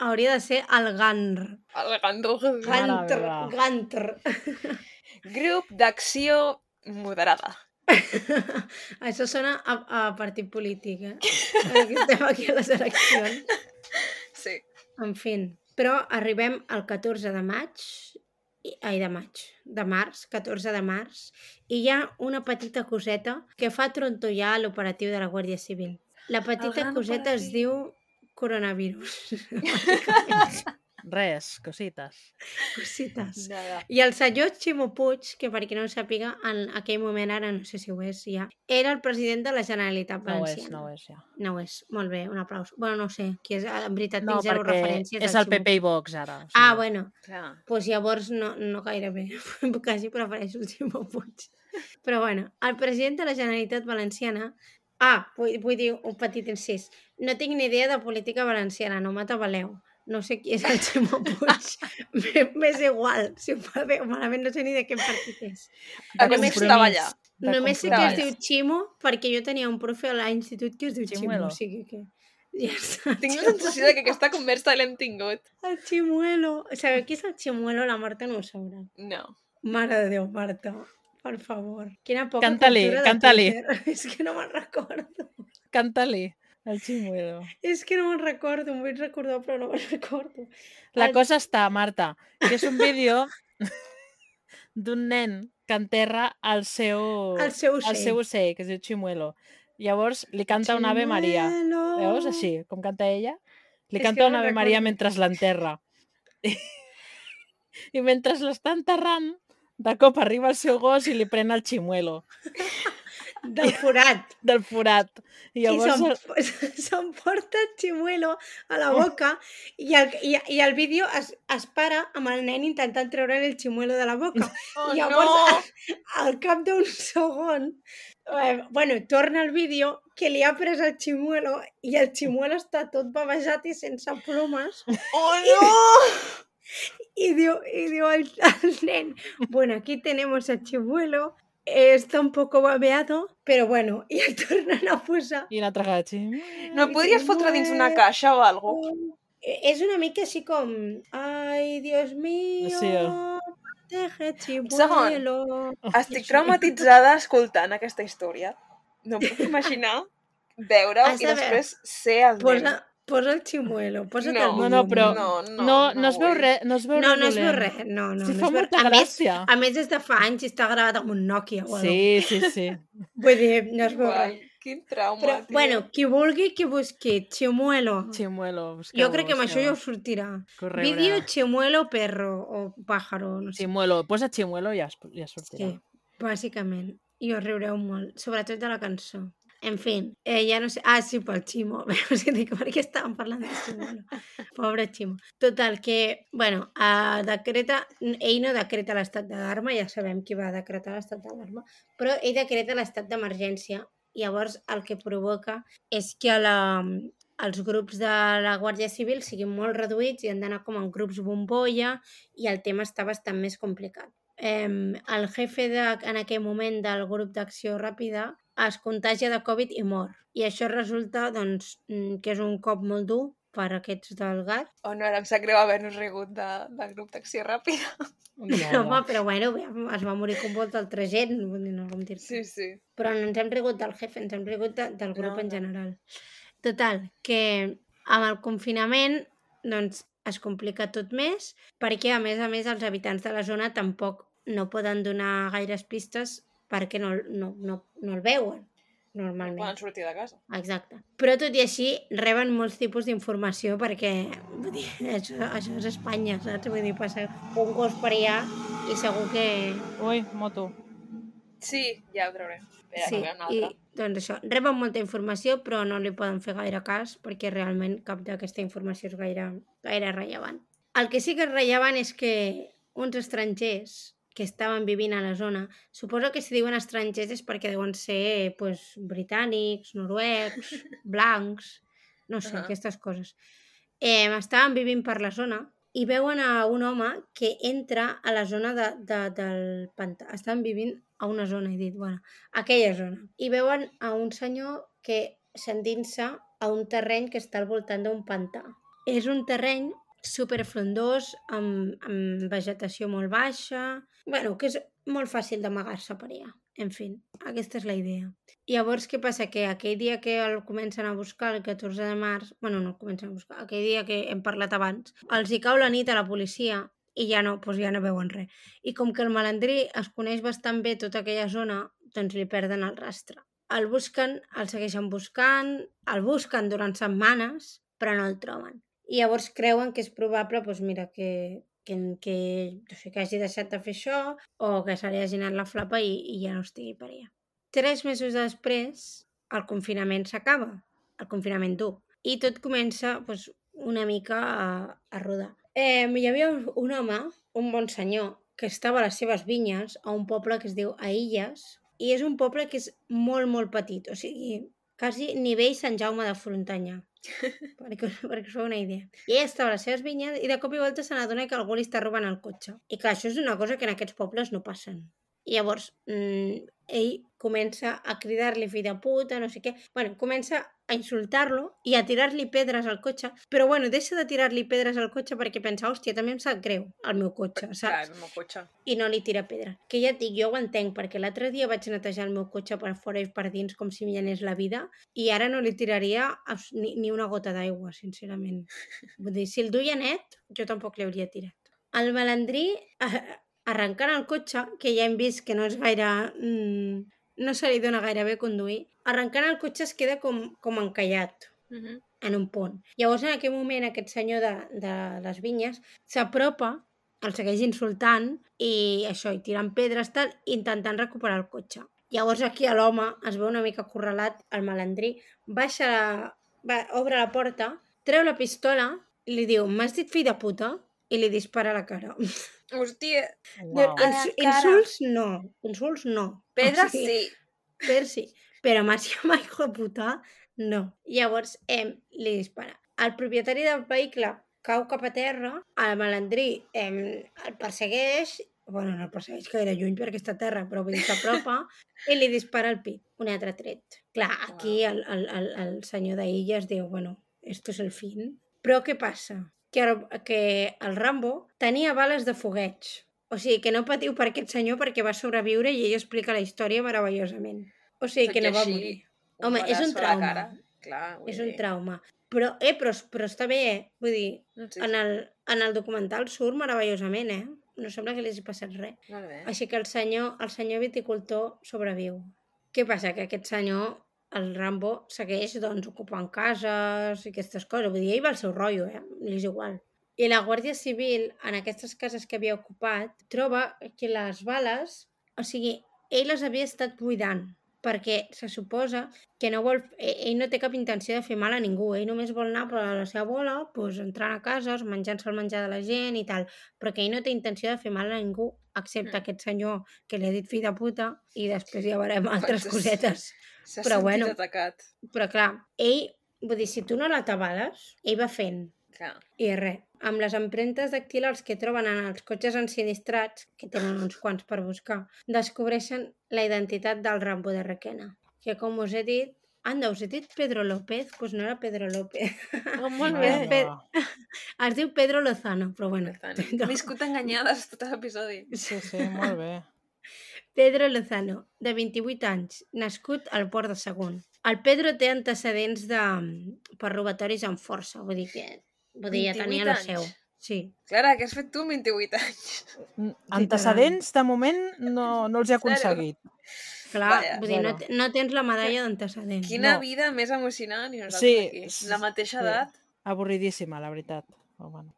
Speaker 2: Hauria de ser el GANR.
Speaker 1: El gandul.
Speaker 4: Mare
Speaker 2: Gantr,
Speaker 4: meva.
Speaker 2: Gantr.
Speaker 1: Grup d'acció moderada.
Speaker 2: Això sona a, a partit polític, eh? Perquè estem aquí a les eleccions.
Speaker 1: Sí.
Speaker 2: En fin. Però arribem al 14 de maig, i, ai, de maig, de març, 14 de març, i hi ha una petita coseta que fa trontollar l'operatiu de la Guàrdia Civil. La petita
Speaker 1: gran
Speaker 2: coseta es
Speaker 1: operatiu.
Speaker 2: diu coronavirus.
Speaker 4: Res, cosites.
Speaker 2: Cosites.
Speaker 1: Nada.
Speaker 2: I el senyor Ximo Puig, que per qui no ho sàpiga, en aquell moment, ara no sé si ho és ja, era el president de la Generalitat
Speaker 4: No ho és,
Speaker 2: Valenciana.
Speaker 4: no ho és, ja.
Speaker 2: No ho és. Molt bé, un aplaus. Bueno, no ho sé, qui és, en veritat
Speaker 4: No,
Speaker 2: tinc zero
Speaker 4: perquè
Speaker 2: referències.
Speaker 4: és
Speaker 2: al
Speaker 4: el
Speaker 2: Ximo
Speaker 4: PP i Vox, ara. o
Speaker 2: Puig. Ah,
Speaker 4: sigui,
Speaker 2: bueno,
Speaker 1: Clar.
Speaker 2: doncs llavors no, no gairebé. Quasi prefereixo el Ximo Puig. Però bueno, el president de la Generalitat Valenciana... Ah, vull, vull dir un petit incís. No tinc ni idea de política valenciana, no m'atabaleu. No sé qui és el Ximo Puig. M'é- M'és igual, si ho fa bé o malament, no sé ni de quin partit és.
Speaker 1: A
Speaker 4: de
Speaker 1: més,
Speaker 4: compromís,
Speaker 1: estava allà.
Speaker 4: de
Speaker 2: Només sé que es
Speaker 4: compromís.
Speaker 2: diu Ximo perquè jo tenia un profe a l'institut que es diu Ximo,
Speaker 4: Chimuelo.
Speaker 2: o sigui que... Ja està,
Speaker 1: Tinc la sensació de que aquesta conversa l'hem tingut.
Speaker 2: El Chimuelo. Sabeu qui és el Chimuelo? La Marta no ho sabrà.
Speaker 1: No.
Speaker 2: Mare de Déu, Marta. Per favor. Quina poca
Speaker 4: Canta-li,
Speaker 2: cultura de
Speaker 4: canta-li.
Speaker 2: Twitter. És que no me'n recordo.
Speaker 4: Canta-li, el ximuelo.
Speaker 2: És que no me'n recordo. Em vull recordar, però no me'n recordo.
Speaker 4: La
Speaker 2: El-
Speaker 4: cosa està, Marta, que és un vídeo d'un nen que enterra el seu,
Speaker 2: El seu ocell.
Speaker 4: el seu ocell, que es diu Chimuelo. Llavors li canta una Ave Maria.
Speaker 2: Chimuelo.
Speaker 4: Veus, així, com canta ella?
Speaker 2: És
Speaker 4: Li
Speaker 2: que
Speaker 4: canta
Speaker 2: no
Speaker 4: una
Speaker 2: me'n
Speaker 4: Ave Maria
Speaker 2: recordo.
Speaker 4: mentre l'enterra. I mentre l'està enterrant, de cop arriba el seu gos i li pren el ximuelo
Speaker 2: Del forat.
Speaker 4: del forat. I
Speaker 2: I
Speaker 4: llavors... el-
Speaker 2: s'em- s'emporta el ximuelo a la boca i el, i, i el vídeo es, es para amb el nen intentant treure el ximuelo de la boca.
Speaker 1: Oh,
Speaker 2: I llavors, al, al cap d'un segon, eh, bueno, torna el vídeo que li ha pres el ximuelo i el ximuelo està tot babejat i sense plomes
Speaker 1: no! Oh, no!
Speaker 2: i diu, i diu al, al nen, bueno, aquí tenemos a chimuelo, eh, está un poco babeado, pero bueno, i el tornen a posar
Speaker 4: I l'altre gat, ximuelo.
Speaker 1: No el podries fotre dins una caixa o alguna cosa?
Speaker 2: Eh, És una mica així com... Ai, Dios mío...
Speaker 4: Sí, eh.
Speaker 2: Protege,
Speaker 1: Segon.
Speaker 2: chibuelo.
Speaker 1: Estic traumatitzada escoltant aquesta història. No em puc imaginar veure-ho
Speaker 2: Has
Speaker 1: i
Speaker 2: de veure.
Speaker 1: després ser el nen.
Speaker 2: Posa, posa el chimuelo, posa't
Speaker 1: No,
Speaker 2: el
Speaker 4: no, no,
Speaker 2: vídeo,
Speaker 4: però-
Speaker 2: no,
Speaker 1: No,
Speaker 4: No, no, no es veu
Speaker 1: vull.
Speaker 4: res, no es veu
Speaker 2: no,
Speaker 4: res
Speaker 2: no es veu
Speaker 4: dolent.
Speaker 2: res. No, no, no
Speaker 4: Sí, fa
Speaker 2: es veu...
Speaker 4: molta
Speaker 2: A més,
Speaker 4: gràcia.
Speaker 2: a més, des de fa anys està gravat amb un Nokia o sí.
Speaker 4: Sí, sí, sí.
Speaker 2: Vull dir, no es veu
Speaker 1: Guai,
Speaker 2: res.
Speaker 1: quin trauma,
Speaker 2: Però,
Speaker 1: tio.
Speaker 2: bueno, qui vulgui, que busqui Chimuelo.
Speaker 4: Chimuelo.
Speaker 2: Jo crec que amb això ja us sortirà. Vídeo Chimuelo perro o pájaro, no sé.
Speaker 4: Chimuelo, posa Chimuelo i ja, es- ja sortirà.
Speaker 2: Sí, bàsicament. I us riureu molt, sobretot de la cançó. En fi, eh, ja no sé... Ah, sí, pel Ximo. Veus que dic, per què estàvem parlant de Ximo? Pobre Ximo. Total, que, bueno, eh, decreta... Ell no decreta l'estat d'alarma, ja sabem qui va decretar l'estat d'alarma, però ell decreta l'estat d'emergència. Llavors, el que provoca és que la, els grups de la Guàrdia Civil siguin molt reduïts i han d'anar com en grups bombolla i el tema està bastant més complicat eh, el jefe de, en aquell moment del grup d'acció ràpida es contagia de Covid i mor. I això resulta doncs, mm, que és un cop molt dur per a aquests del GAT.
Speaker 1: Oh, no, ara em sap greu haver-nos rigut de, del grup d'acció ràpida.
Speaker 2: No, home, però bueno, aviam, es va morir com volta altra gent, vull dir, no com dir
Speaker 1: Sí, sí.
Speaker 2: però no ens hem rigut del jefe, ens hem rigut de, del grup
Speaker 1: No,
Speaker 2: en
Speaker 1: no.
Speaker 2: general. Total, que amb el confinament doncs, es complica tot més perquè, a més a més, els habitants de la zona tampoc no poden donar gaires pistes perquè no, el- no, no, no el veuen
Speaker 1: No
Speaker 2: normalment.
Speaker 1: poden sortir de casa.
Speaker 2: Exacte. Però tot i així reben molts tipus d'informació perquè vull dir, això, això és Espanya, saps? Vull dir, passa un gos per allà i segur que,
Speaker 4: Ui, moto.
Speaker 1: Sí, ja ho trauré. Espera, sí, una
Speaker 2: i
Speaker 1: altra. I...
Speaker 2: doncs això, reben molta informació però no li poden fer gaire cas perquè realment cap d'aquesta informació és gaire, gaire rellevant. El que sí que és rellevant és que uns estrangers que estaven vivint a la zona, suposo que si diuen estrangers és perquè deuen ser pues, britànics, noruecs, blancs, no sé, uh -huh.
Speaker 1: Ahà.
Speaker 2: aquestes coses. Eh, estaven vivint per la zona i veuen a un home que entra a la zona de, de, del pantà. Estan vivint a una zona, he dit, bueno, aquella zona. I veuen a un senyor que s'endinsa a un terreny que està al voltant d'un pantà. És un terreny superfrondós, amb, amb vegetació molt baixa... bueno, que és molt fàcil d'amagar-se per allà. En fi, aquesta és la idea. Llavors, què passa? Que aquell dia que el comencen a buscar, el 14 de març... bueno, no el comencen a buscar, aquell dia que hem parlat abans, els hi cau la nit a la policia i ja no, doncs ja no veuen res. I com que el malandrí es coneix bastant bé tota aquella zona, doncs li perden el rastre. El busquen, el segueixen buscant, el busquen durant setmanes, però no el troben. I llavors creuen que és probable, doncs mira, que, que, que, no sé, que hagi deixat de fer això o que se li hagi anat la flapa i, i ja no estigui per allà. Tres mesos després, el confinament s'acaba, el confinament dur, i tot comença doncs, una mica a, a rodar. Eh, hi havia un- un home, un bon senyor, que estava a les seves vinyes a un poble que es diu Aïlles, i és un poble que és molt, molt petit, o sigui, quasi nivell Sant Jaume de Frontanyà, perquè, perquè us feu una idea. I ell estava a les seves vinyes i de cop i volta se n'adona que algú li està robant el cotxe. I clar, això és una cosa que en aquests pobles no passen. I llavors, mm, ell comença a cridar-li fill de puta, no sé què... Bueno, comença a insultar-lo i a tirar-li pedres al cotxe, però bueno, deixa de tirar-li pedres al cotxe perquè pensa, hòstia, també em sap greu el meu cotxe, saps?
Speaker 1: Clar, és el meu cotxe.
Speaker 2: i no li tira pedra. Que ja et dic, jo ho entenc, perquè l'altre dia vaig netejar el meu cotxe per fora i per dins com si m'hi anés la vida i ara no li tiraria abs- ni, ni una gota d'aigua, sincerament. Vull dir, si el duia net, jo tampoc li hauria tirat. El malandrí, eh, arrencant el cotxe, que ja hem vist que no és gaire... Mm, no se li dona gaire bé conduir, arrencant el cotxe es queda com, com encallat
Speaker 1: Uh -huh.
Speaker 2: en un punt. Llavors, en aquell moment, aquest senyor de, de les vinyes s'apropa, el segueix insultant i això, i tirant pedres, tal, intentant recuperar el cotxe. Llavors aquí a l'home es veu una mica acorralat, el malandrí, baixa la... Va, obre la porta, treu la pistola, i li diu, m'has dit fill de puta? I li dispara a la cara.
Speaker 1: Hòstia,
Speaker 4: Uau.
Speaker 1: A la
Speaker 2: Ins
Speaker 1: cara.
Speaker 2: insults no, insults no.
Speaker 1: pedra
Speaker 2: O sigui,
Speaker 1: sí.
Speaker 2: per sí. Però m'has llamat hijo de puta? No. Llavors, em, li dispara. El propietari del vehicle cau cap a terra, el malandrí em, el persegueix, bueno, no el persegueix gaire lluny perquè està a terra, però vull dir, s'apropa, i li dispara al pit, un altre tret. Clar, aquí el, el, el, el senyor d'Illa es diu, bueno, esto es el fin. Però què passa? Que el, que el Rambo tenia bales de fogueig. O sigui, que no patiu per aquest senyor perquè va sobreviure i ell explica la història meravellosament. O sigui, que no va morir.
Speaker 1: un
Speaker 2: Home, és
Speaker 1: balaç a
Speaker 2: un
Speaker 1: la
Speaker 2: trauma.
Speaker 1: Cara, clar, vull
Speaker 2: És un
Speaker 1: dir,
Speaker 2: trauma. Però, eh, però, però està bé, eh? Vull dir,
Speaker 1: Sí,
Speaker 2: en el, en el documental surt meravellosament, eh? No sembla que li hagi passat res.
Speaker 1: Molt bé.
Speaker 2: Així que el senyor, el senyor viticultor sobreviu. Què passa? Que aquest senyor, el Rambo, segueix doncs, ocupant cases i aquestes coses. Vull dir, ell va al seu rotllo, eh? Li és igual. I la Guàrdia Civil, en aquestes cases que havia ocupat, troba que les bales... O sigui, ell les havia estat buidant perquè se suposa que no vol, eh, ell no té cap intenció de fer mal a ningú, ell només vol anar a la seva bola, pues, entrant a cases, menjant-se el menjar de la gent i tal, però que ell no té intenció de fer mal a ningú, excepte
Speaker 1: Mm.
Speaker 2: aquest senyor que li ha dit fill de puta, i després ja veurem altres
Speaker 1: Quantes-
Speaker 2: cosetes.
Speaker 1: S'ha
Speaker 2: però
Speaker 1: sentit
Speaker 2: bueno.
Speaker 1: atacat.
Speaker 2: Però clar, ell, vull dir, si tu no l'atabales, ell va fent,
Speaker 1: Clar.
Speaker 2: i res, amb les empremtes dactilars que troben en els cotxes ensinistrats, que tenen uns quants per buscar, descobreixen la identitat del Rambo de Requena, que com us he dit, anda, us he dit Pedro López, doncs pues no era Pedro López.
Speaker 1: Oh,
Speaker 2: molt bé,
Speaker 4: Mare
Speaker 2: Pep.
Speaker 4: meva.
Speaker 2: Es diu Pedro Lozano, però bueno.
Speaker 1: M'he viscut enganyades tot l'episodi.
Speaker 4: Sí, sí, molt bé.
Speaker 2: Pedro Lozano, de 28 anys, nascut al Port de Sagunt. El Pedro té antecedents de... mm, per robatoris amb força, vull dir que vull dir, ja
Speaker 1: 28
Speaker 2: tenia la
Speaker 1: anys.
Speaker 2: seu. Sí,
Speaker 1: Clara, què has fet tu amb 28 anys?
Speaker 4: Mm, Antecedents, de moment, no, no els he aconseguit.
Speaker 2: clar,
Speaker 1: Vaja.
Speaker 2: vull dir, no,
Speaker 4: Bueno.
Speaker 2: te- no tens la medalla d'antecedents.
Speaker 1: Quina
Speaker 4: No.
Speaker 1: vida més emocionant i nosaltres
Speaker 4: Sí,
Speaker 1: aquí.
Speaker 4: s-
Speaker 1: La mateixa
Speaker 4: sí.
Speaker 1: edat.
Speaker 4: Avorridíssima, la veritat. Però, bueno.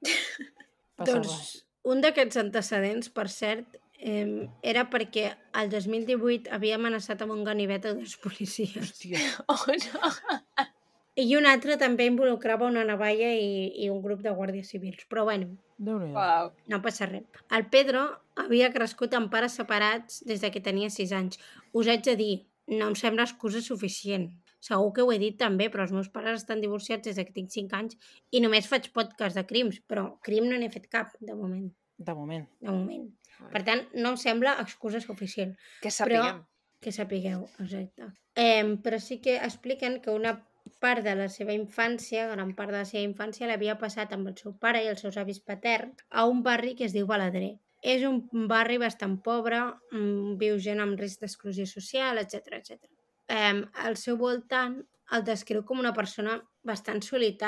Speaker 4: Passa
Speaker 2: Doncs
Speaker 4: res.
Speaker 2: un d'aquests antecedents, per cert, eh, era perquè el 2018 havia amenaçat amb un ganivet a dos policies.
Speaker 4: Hòstia.
Speaker 1: Oh, no.
Speaker 2: I un altre també involucrava una navalla i, i un grup de guàrdies civils. Però bueno,
Speaker 4: déu nhi
Speaker 1: Uau.
Speaker 2: no passa res. El Pedro havia crescut amb pares separats des de que tenia 6 anys. Us haig de dir, no em sembla excusa suficient. Segur que ho he dit també, però els meus pares estan divorciats des de que tinc 5 anys i només faig podcast de crims, però crim no n'he fet cap, de moment.
Speaker 4: De moment.
Speaker 2: De moment.
Speaker 1: Bueno.
Speaker 2: Per tant, no em sembla excusa suficient.
Speaker 1: Que sapiguem.
Speaker 2: que sapigueu, exacte. Eh, però sí que expliquen que una part de la seva infància, gran part de la seva infància, l'havia passat amb el seu pare i els seus avis paterns a un barri que es diu Baladrer. És un barri bastant pobre, mm, viu gent amb risc d'exclusió social, etc etc. Eh, al seu voltant el descriu com una persona bastant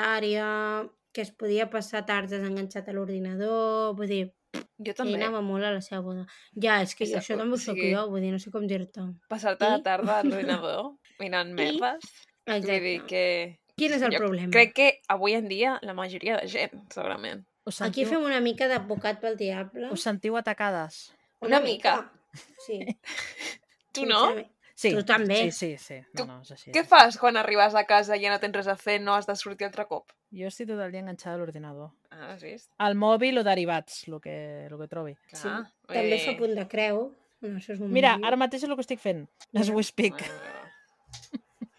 Speaker 2: solitària, que es podia passar tards desenganxat a l'ordinador, vull dir,
Speaker 1: Jo
Speaker 2: ell
Speaker 1: també.
Speaker 2: anava molt a la seva boda. Ja, és que jo
Speaker 1: Exacte,
Speaker 2: això també
Speaker 1: o
Speaker 2: ho soc
Speaker 1: sigui-
Speaker 2: jo, vull dir, no sé com dir-te.
Speaker 1: Passar-te la
Speaker 2: I-
Speaker 1: tarda a l'ordinador mirant merdes. Vull dir que...
Speaker 2: Quin és el
Speaker 1: jo
Speaker 2: problema?
Speaker 1: Crec que avui en dia la majoria de gent, segurament.
Speaker 4: Us
Speaker 2: Aquí
Speaker 4: sentiu,
Speaker 2: fem una mica d'advocat pel diable.
Speaker 4: us sentiu atacades?
Speaker 1: Una mica.
Speaker 2: Sí.
Speaker 1: Tu no?
Speaker 2: sincerament.
Speaker 4: Sí.
Speaker 2: Tu també.
Speaker 4: Sí, sí, sí.
Speaker 1: Tu-
Speaker 4: No, no, és així.
Speaker 1: Què
Speaker 4: és així.
Speaker 1: fas quan arribes a casa i ja no tens res a fer, no has de sortir altre cop?
Speaker 4: Jo estic tot el dia enganxada a l'ordinador.
Speaker 1: Ah, has vist?
Speaker 4: Al mòbil o derivats, el que, el que trobi.
Speaker 1: Clar, Eh,
Speaker 2: Sí,
Speaker 1: vull
Speaker 2: També
Speaker 1: dir-
Speaker 2: fa punt de creu. En els seus moments
Speaker 4: Mira,
Speaker 2: lliures.
Speaker 4: ara mateix és el que estic fent. Les we speak.
Speaker 1: Ah,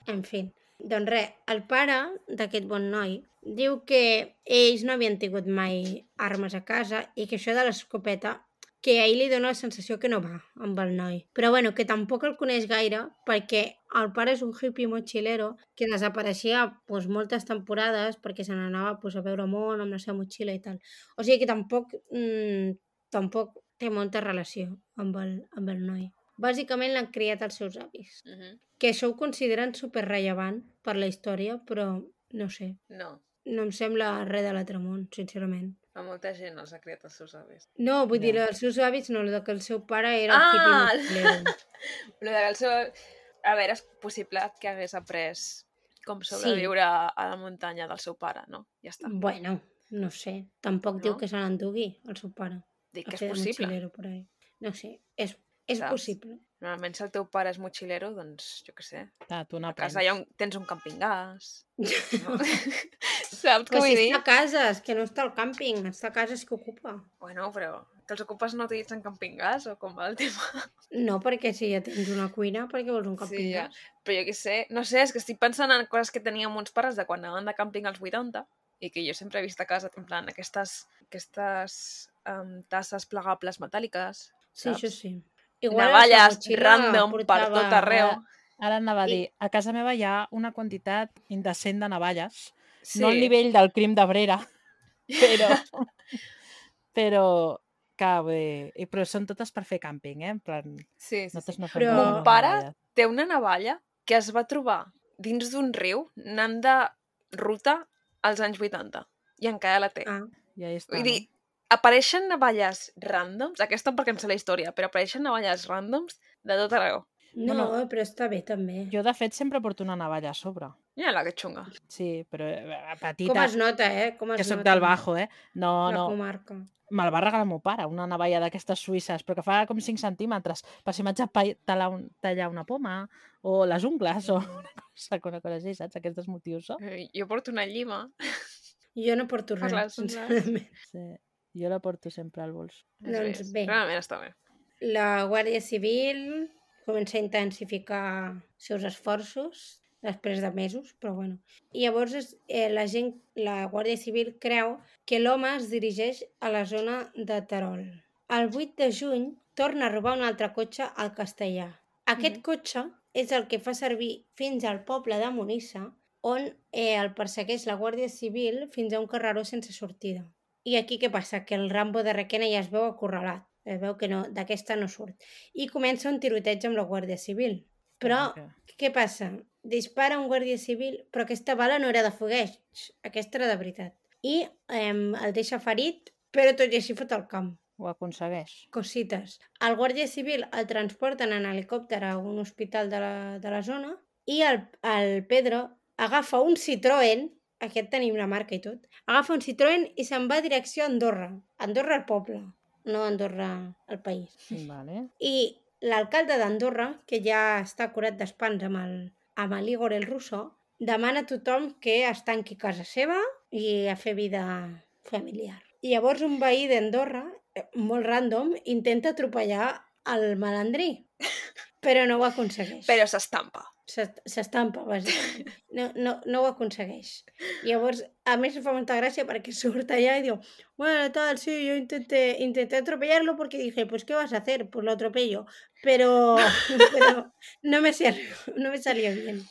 Speaker 2: En fi. Doncs res, el pare d'aquest bon noi diu que ells no havien tingut mai armes a casa i que això de l'escopeta que a ell li dona la sensació que no va amb el noi. Però bueno, que tampoc el coneix gaire perquè el pare és un hippie mochilero que desapareixia pues, moltes temporades perquè se n'anava pues, a veure món amb la seva motxilla i tal. O sigui que tampoc, mm, tampoc té molta relació amb el, amb el noi. Bàsicament l'han criat els seus avis
Speaker 1: mhm.
Speaker 2: que això ho consideren superrellevant per la història, però no ho sé,
Speaker 1: No,
Speaker 2: no em sembla res de l'altre món, sincerament.
Speaker 1: a molta gent els ha criat els seus avis.
Speaker 2: No, vull dir,
Speaker 4: Ja.
Speaker 2: els seus hàbits no, el de que el seu pare era
Speaker 1: Ah!
Speaker 2: el hippie mochilero.
Speaker 1: Lo de que el seu... A veure, és possible que hagués après com sobreviure sí. a la muntanya del seu pare, no? Ja està.
Speaker 2: Bueno, no sé,
Speaker 1: No?
Speaker 2: tampoc diu que se l'endugui el seu pare.
Speaker 1: Dic
Speaker 2: a
Speaker 1: que és
Speaker 2: fer de
Speaker 1: possible.
Speaker 2: mochilero per ahí. No sé, és, és
Speaker 1: Saps?
Speaker 2: possible.
Speaker 1: Normalment si el teu pare és motxilero, doncs, jo què sé,
Speaker 4: Ah, tu
Speaker 1: a
Speaker 4: n'aprens.
Speaker 1: casa hi ha un... tens un camping gas. No? Saps què
Speaker 2: Però si
Speaker 1: vull dir?
Speaker 2: està a casa, és que no està al càmping, està a casa és que ocupa.
Speaker 1: Bueno, però que els ocupes no utilitzen camping gas o com va el tema?
Speaker 2: No, perquè si ja tens una cuina, perquè vols un càmping
Speaker 1: ja.
Speaker 2: gas?
Speaker 1: Però jo què sé, no sé, és que estic pensant en coses que teníem uns pares de quan anaven de càmping als 80 i que jo sempre he vist a casa, en plan, aquestes, aquestes um, tasses plegables metàl·liques,
Speaker 2: Sí, això
Speaker 1: saps?
Speaker 2: sí. a la seva
Speaker 1: navalles
Speaker 2: motxilla
Speaker 1: random per
Speaker 2: portava-
Speaker 1: tot arreu.
Speaker 4: Ara anava a
Speaker 2: I-
Speaker 4: dir, a casa meva hi ha una quantitat indecent de navalles.
Speaker 1: Sí.
Speaker 4: No al nivell del crim d'Abrera, però... però que bé, i- però són totes per fer càmping, eh? En plan,
Speaker 5: Sí, sí, sí.
Speaker 4: nosaltres no fem
Speaker 2: Però-
Speaker 4: càmping,
Speaker 2: Mon
Speaker 5: pare-
Speaker 4: vaja.
Speaker 5: Té una navalla que es va trobar dins d'un riu anant de ruta als anys 80 i encara la té.
Speaker 2: Ah,
Speaker 4: Ja hi està,
Speaker 5: Vull
Speaker 4: no?
Speaker 5: dir, apareixen navalles ràndoms, aquesta perquè em sé la història, però apareixen navalles ràndoms de tot arreu.
Speaker 2: no,
Speaker 4: Bueno,
Speaker 2: però està bé també.
Speaker 4: Jo, de fet, sempre porto una navalla a sobre.
Speaker 5: Mira la que xunga.
Speaker 4: Sí, però eh,
Speaker 2: Com
Speaker 4: petita,
Speaker 2: es nota, eh? Com es
Speaker 4: que sóc
Speaker 2: nota.
Speaker 4: del Bajo, eh? No,
Speaker 2: la
Speaker 4: no,
Speaker 2: comarca.
Speaker 4: me'l va regalar el meu pare, una navalla d'aquestes suïsses, però que fa com 5 centímetres, per si m'haig de pa- tallar, un, tallar una poma, o les ungles, o una cosa, una cosa així, saps? Aquests motius, no?
Speaker 5: Eh, Jo porto una llima.
Speaker 2: Jo no porto
Speaker 5: Per
Speaker 4: Ah,
Speaker 2: res,
Speaker 5: les ungles.
Speaker 2: sincerament.
Speaker 4: Sí. Jo la porto sempre al bols.
Speaker 2: Doncs bé.
Speaker 5: Realment està bé.
Speaker 2: La Guàrdia Civil comença a intensificar els seus esforços després de mesos, però bueno. I llavors es, eh, la gent, la Guàrdia Civil creu que l'home es dirigeix a la zona de Terol. El 8 de juny torna a robar un altre cotxe al castellà. Aquest
Speaker 5: Mhm.
Speaker 2: cotxe és el que fa servir fins al poble de Monissa, on eh, el persegueix la Guàrdia Civil fins a un carreró sense sortida. I aquí què passa? Que el Rambo de Requena ja es veu acorralat. Es veu que no, d'aquesta no surt. I comença un tiroteig amb la Guàrdia Civil. Però,
Speaker 4: Perquè-
Speaker 2: què passa? Dispara un guàrdia civil, però aquesta bala no era de fogueig, aquesta era de veritat. I eh, el deixa ferit, però tot i així fot al camp.
Speaker 4: Ho aconsegueix.
Speaker 2: Cosites. El guàrdia civil el transporten en helicòpter a un hospital de la, de la zona i el, el Pedro agafa un Citroën, aquest tenim la marca i tot, agafa un Citroën i se'n va a direcció a Andorra. Andorra al poble, no Andorra al país.
Speaker 4: Vale.
Speaker 2: I l'alcalde d'Andorra, que ja està curat d'espans amb el, amb el Igor el Russo, demana a tothom que es tanqui a casa seva i a fer vida familiar. I llavors un veí d'Andorra, eh, molt random, intenta atropellar el malandrí, però no ho aconsegueix.
Speaker 5: Però s'estampa.
Speaker 2: S'est- S'estampa, bàsicament. No, no, no ho aconsegueix. Llavors, a més, em fa molta gràcia perquè surt allà i diu bueno, tal, sí, yo intenté, intenté atropellarlo porque dije, pues, ¿qué vas a hacer? Pues lo atropello. Pero, pero no, me salió, no me salió bien.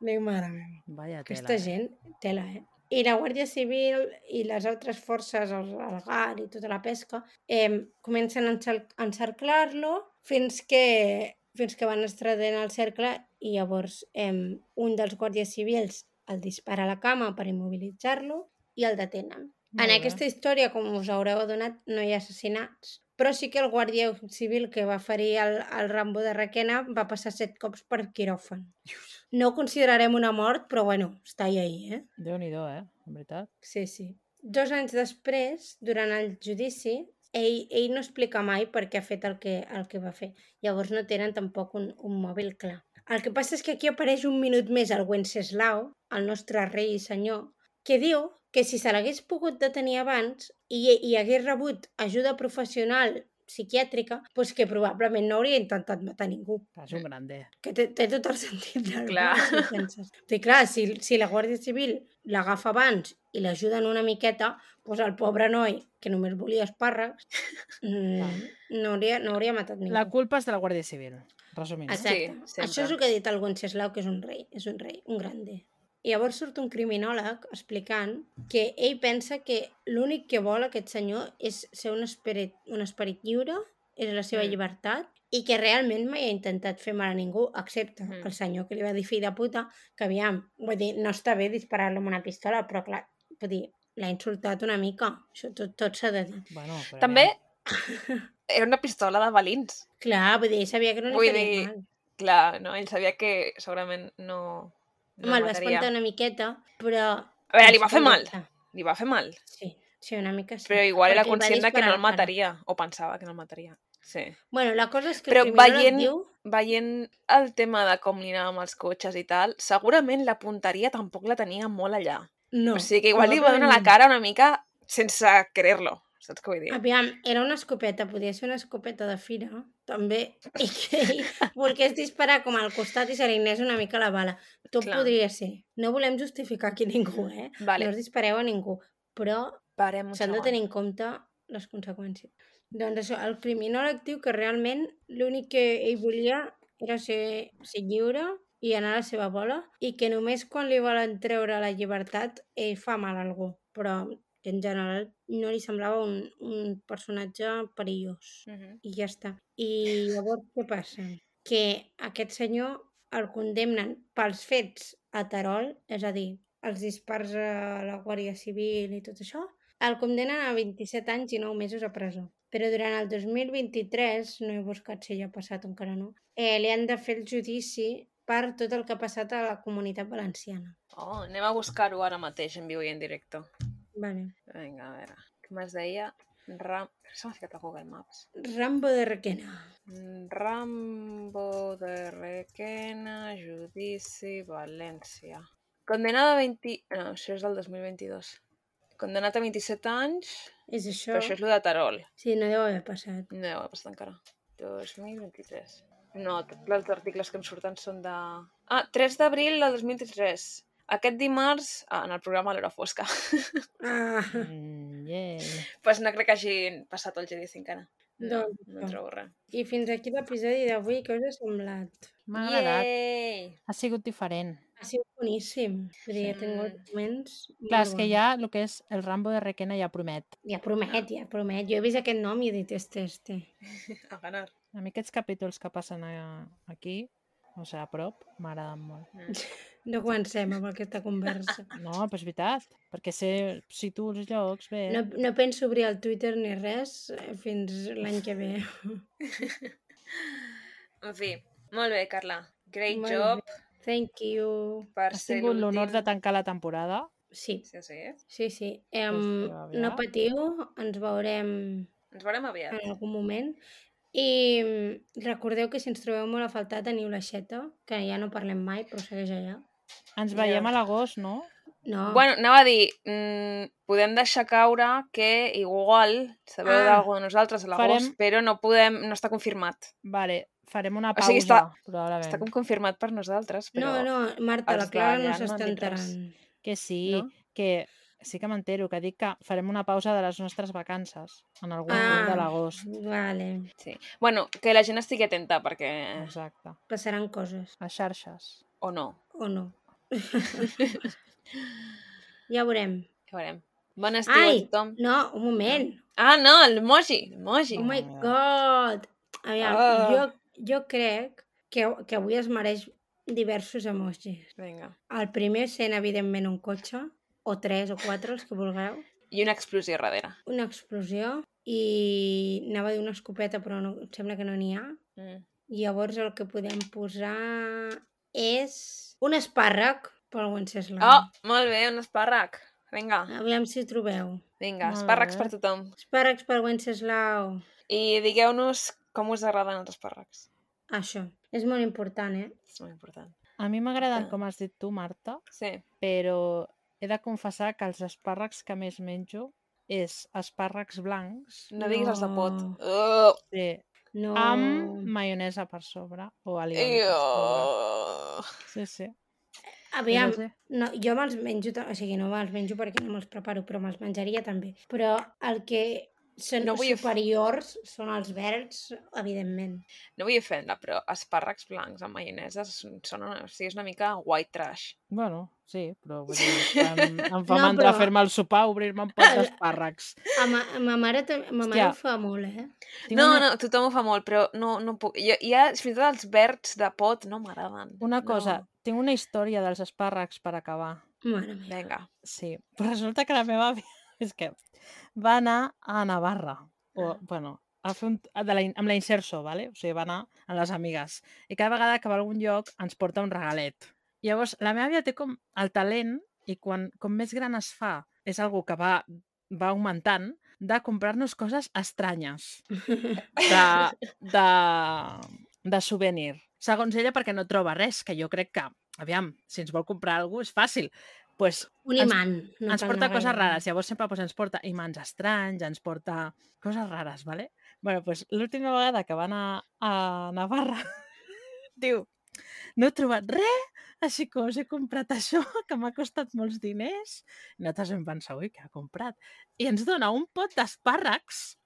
Speaker 2: Dic, mare meva.
Speaker 4: Vaya tela. eh?
Speaker 2: Aquesta gent, tela, eh? I la Guàrdia Civil i les altres forces, el, el GAR i tota la pesca, eh, comencen a encer- a encerclar-lo fins que fins que van estradent el cercle i llavors eh, un dels guàrdies civils el dispara a la cama per immobilitzar-lo i el detenen.
Speaker 4: Molt
Speaker 2: en
Speaker 4: bé.
Speaker 2: aquesta història, com us haureu adonat, no hi ha assassinats, però sí que el guàrdia civil que va ferir el, el Rambo de Requena va passar set cops per quiròfan. No ho considerarem una mort, però bueno, està ahí, ahí eh?
Speaker 4: Déu-n'hi-do, eh? En veritat.
Speaker 2: Sí, sí. Dos anys després, durant el judici, ell, ell no explica mai per què ha fet el que, el que va fer. Llavors no tenen tampoc un, un mòbil clar. El que passa és que aquí apareix un minut més el Wenceslau, el nostre rei i senyor, que diu que si se l'hagués pogut detenir abans i, i hagués rebut ajuda professional psiquiàtrica, doncs que probablement no hauria intentat matar ningú
Speaker 4: Ah, És un grande.
Speaker 2: que té, té tot el sentit del
Speaker 5: Clar.
Speaker 2: món, si penses. Sí, clar, si, si la Guàrdia Civil l'agafa abans i l'ajuden una miqueta, doncs el pobre noi, que només volia espàrrecs, mm, no, hauria, no hauria matat ningú.
Speaker 4: La culpa és de la Guàrdia Civil, resumint.
Speaker 5: Exacte.
Speaker 2: Exacte.
Speaker 5: sempre.
Speaker 2: Això és el que ha dit el Wenceslau, que és un rei, és un rei, un grande. I llavors surt un criminòleg explicant que ell pensa que l'únic que vol aquest senyor és ser un esperit, un esperit lliure, és la seva
Speaker 5: Mm.
Speaker 2: llibertat, i que realment mai ha intentat fer mal a ningú, excepte
Speaker 5: Mm.
Speaker 2: el senyor que li va dir fill de puta, que aviam, vull dir, no està bé disparar-lo amb una pistola, però clar, vull dir, l'ha insultat una mica, això tot, tot s'ha de dir.
Speaker 4: Bueno, però
Speaker 5: També
Speaker 4: aviam,
Speaker 5: era una pistola de balins.
Speaker 2: Clar, vull dir, sabia que no li
Speaker 5: Vull
Speaker 2: faria
Speaker 5: dir,
Speaker 2: mal.
Speaker 5: Clar, no? Ell sabia que segurament no... no
Speaker 2: Home, el va
Speaker 5: mataria.
Speaker 2: espantar una miqueta, però...
Speaker 5: A veure, li va fer
Speaker 2: Suposo que
Speaker 5: mal.
Speaker 2: està.
Speaker 5: Li va fer mal.
Speaker 2: Sí, sí, una mica sí.
Speaker 5: Però igual era
Speaker 2: Perquè va
Speaker 5: conscient de que
Speaker 2: disparar
Speaker 5: no el
Speaker 2: al pare.
Speaker 5: mataria. O pensava que no el mataria. Sí.
Speaker 2: Bueno, la cosa és que
Speaker 5: Però
Speaker 2: el criminòleg
Speaker 5: veient-
Speaker 2: diu...
Speaker 5: Veient el tema de com li anava amb els cotxes i tal, segurament la punteria tampoc la tenia molt allà.
Speaker 2: No,
Speaker 5: O sigui que igual li va donar la
Speaker 2: probablement no. Ah,
Speaker 5: cara una mica sense querer-lo. Saps què vull dir?
Speaker 2: Aviam, era una escopeta, podia ser una escopeta de fira, també, i que ell volgués disparar com al costat i se li anés una mica la bala. Tot
Speaker 5: Clar.
Speaker 2: podria ser. No volem justificar aquí ningú, eh?
Speaker 5: Vale,
Speaker 2: No us dispareu a ningú, però
Speaker 5: parem un
Speaker 2: s'han de
Speaker 5: segon.
Speaker 2: tenir en compte les conseqüències. Doncs això, el criminòleg diu que realment l'únic que ell volia era ser, ser lliure i anar a la seva bola i que només quan li volen treure la llibertat ell fa mal a algú, però que en general no li semblava un, un personatge perillós.
Speaker 1: Mhm.
Speaker 2: I ja està. I llavors què passa? Que aquest senyor el condemnen pels fets a Terol, és a dir, els dispars a la Guàrdia Civil i tot això, el condemnen a 27 anys i 9 mesos a presó. Però durant el 2023, no he buscat si ja ha passat, encara no, eh, li han de fer el judici per tot el que ha passat a la comunitat valenciana.
Speaker 1: Oh, anem a buscar-ho ara mateix en viu i en directe.
Speaker 2: Vale.
Speaker 1: Vinga, a veure. Què més deia? Ram... S'ha ficat a Google Maps.
Speaker 2: Rambo de Requena.
Speaker 1: Mm, Rambo de Requena, judici, València. Condenada a 20... No, això és del 2022. Condenat a 27 anys,
Speaker 2: És això?
Speaker 1: però això és lo de Tarol.
Speaker 2: Sí, no deu haver passat.
Speaker 1: No, ha passat encara. 2023. No, tots els articles que em surten són de... Ah, 3 d'abril del 2023. Aquest dimarts, ah, en el programa L'Hora Fosca.
Speaker 2: Ah,
Speaker 4: Mm, yeah.
Speaker 1: pues no crec que hagin passat el judici encara. No,
Speaker 2: Doncs
Speaker 1: no
Speaker 2: no.
Speaker 1: en trobo res.
Speaker 2: I fins aquí l'episodi d'avui, que us ha semblat?
Speaker 4: M'ha agradat.
Speaker 1: Yay!
Speaker 4: Ha sigut diferent.
Speaker 2: Ha sigut boníssim. Vull dir, he
Speaker 1: Sí.
Speaker 2: tingut moments... molt
Speaker 4: Clar, és que
Speaker 2: bons.
Speaker 4: ja el que és el Rambo de Requena ja promet.
Speaker 2: Ja promet, ja promet. Jo he vist aquest nom i he dit, este, este.
Speaker 1: A ganar.
Speaker 4: A mi aquests capítols que passen a, aquí, o sigui, a prop, m'agraden molt.
Speaker 2: No comencem amb aquesta conversa.
Speaker 4: No, però és veritat, perquè sé, tu els llocs bé.
Speaker 2: No, no penso obrir el Twitter ni res eh, fins l'any que ve.
Speaker 1: En fi, molt bé, Carla. Great
Speaker 2: Molt
Speaker 1: job
Speaker 2: Thank you.
Speaker 1: per
Speaker 4: Has
Speaker 1: ser
Speaker 4: tingut l'honor de
Speaker 1: l'últim.
Speaker 4: tancar la temporada.
Speaker 2: Sí,
Speaker 1: Sí, eh? sí.
Speaker 2: sí, sí. Em,
Speaker 4: Doncs fins
Speaker 2: no
Speaker 4: aviat.
Speaker 2: patiu, ens veurem
Speaker 1: Ens veurem aviat.
Speaker 2: en algun moment. I mm, recordeu que si ens trobeu molt a faltar teniu la xeta, que ja no parlem mai, però segueix allà.
Speaker 4: Ens
Speaker 1: Ja.
Speaker 4: veiem a l'agost, no?
Speaker 2: No,
Speaker 1: Bueno, anava a dir, mm, podem deixar caure que igual sabeu
Speaker 2: Ah.
Speaker 1: ah, d'algú de nosaltres a l'agost,
Speaker 4: Farem-
Speaker 1: però no podem, no està confirmat.
Speaker 4: Vale, farem una
Speaker 1: O
Speaker 4: pausa,
Speaker 1: sigui, està-
Speaker 4: probablement.
Speaker 1: Està com confirmat per nosaltres,
Speaker 2: no,
Speaker 1: però...
Speaker 2: no, Marta, la
Speaker 1: els
Speaker 2: Clara
Speaker 1: d'allà
Speaker 2: no
Speaker 1: no han
Speaker 2: s'està
Speaker 1: dit res.
Speaker 2: enterant.
Speaker 4: Que sí,
Speaker 1: No?
Speaker 4: no? que sí que m'entero, que dic que farem una pausa de les nostres vacances en algun ah.
Speaker 2: Ah.
Speaker 4: moment de l'agost.
Speaker 2: Vale,
Speaker 1: Sí. Bueno, que la gent estigui atenta, perquè...
Speaker 4: Exacte.
Speaker 2: passaran coses,
Speaker 4: A xarxes.
Speaker 1: O no.
Speaker 2: o no. ja veurem.
Speaker 1: Ja veurem. Bon estiu
Speaker 2: Ai,
Speaker 1: a tothom.
Speaker 2: no, un moment.
Speaker 1: Ah, no, l'emoji, l'emoji.
Speaker 2: Oh my
Speaker 4: Mare.
Speaker 2: god! Aviam,
Speaker 1: Ah.
Speaker 2: jo, jo crec que, que avui es mereix diversos emojis.
Speaker 1: Vinga.
Speaker 2: El primer sent, evidentment, un cotxe, o tres o quatre, els que vulgueu,
Speaker 1: I una explosió darrere.
Speaker 2: una explosió, i anava a dir una escopeta, però no, em sembla que no n'hi ha.
Speaker 1: Mm.
Speaker 2: Llavors el que podem posar és un espàrrec pel Wenceslau.
Speaker 1: Oh, molt bé, un espàrrec. Vinga,
Speaker 2: Aviam si ho trobeu.
Speaker 1: vinga,
Speaker 4: Molt
Speaker 1: espàrrecs
Speaker 4: bé.
Speaker 1: per tothom.
Speaker 2: Espàrrecs per Wenceslau.
Speaker 1: I digueu-nos com us agraden els espàrrecs.
Speaker 2: Això. És molt important, eh?
Speaker 1: És molt important.
Speaker 4: A mi m'agraden,
Speaker 1: Exacte.
Speaker 4: com has dit tu, Marta,
Speaker 1: Sí.
Speaker 4: però he de confessar que els espàrrecs que més menjo és espàrrecs blancs
Speaker 1: No diguis els de pot.
Speaker 2: No.
Speaker 1: Uh,
Speaker 4: de
Speaker 2: No... Oh.
Speaker 4: amb maionesa per sobre o alioli
Speaker 1: Oh, uh,
Speaker 4: per sobre. Sí, sí.
Speaker 2: Aviam,
Speaker 4: No sé.
Speaker 2: no, jo me'ls menjo, ta- o sigui, no me'ls menjo perquè no me'ls preparo, però me'ls menjaria també. Però el que són
Speaker 1: No
Speaker 2: no
Speaker 1: vull of-
Speaker 2: superiors són els verds, evidentment.
Speaker 1: no vull ofendre, però espàrrecs blancs amb maionesa són, són una, o sigui, és una mica white trash.
Speaker 4: Bueno, sí, però vull dir, em, em fa
Speaker 2: No,
Speaker 4: no, mandra
Speaker 2: però-
Speaker 4: però... fer-me el sopar, obrir-me un pot d'espàrrecs.
Speaker 2: A ma, a ma mare, ta- ma mare
Speaker 4: Hòstia.
Speaker 2: ho fa molt, eh?
Speaker 4: Tinc
Speaker 1: no,
Speaker 4: una-
Speaker 1: no, tothom ho fa molt, però no, no puc. Jo, ja, fins i tot els verds de pot no m'agraden.
Speaker 4: Una cosa,
Speaker 1: No.
Speaker 4: tinc una història dels espàrrecs per acabar.
Speaker 2: Mare meva.
Speaker 1: Vinga.
Speaker 4: Sí, però resulta que la meva àvia és que va anar a Navarra, o,
Speaker 1: Ah.
Speaker 4: bueno, a fer un, a de la, in- amb la Inserso, ¿vale? o sigui, va anar amb les amigues. I cada vegada que va a algun lloc ens porta un regalet. Llavors, la meva àvia té com el talent, i quan, com més gran es fa, és algo que va, va augmentant, de comprar-nos coses estranyes de, de, de souvenir. Segons ella, perquè no troba res, que jo crec que, aviam, si ens vol comprar alguna cosa és fàcil. pues,
Speaker 2: Un
Speaker 4: Ens-
Speaker 2: imant. No
Speaker 4: ens
Speaker 2: cal
Speaker 4: porta
Speaker 2: anar
Speaker 4: coses
Speaker 2: gaire.
Speaker 4: rares, llavors sempre doncs, ens porta imants estranys, ens porta coses rares, vale? bueno, doncs, l'última vegada que van a, a Navarra, diu, no he trobat res, així que us he comprat això, que m'ha costat molts diners. I nosaltres vam pensar, ui, què ha comprat? I ens dona un pot d'espàrrecs,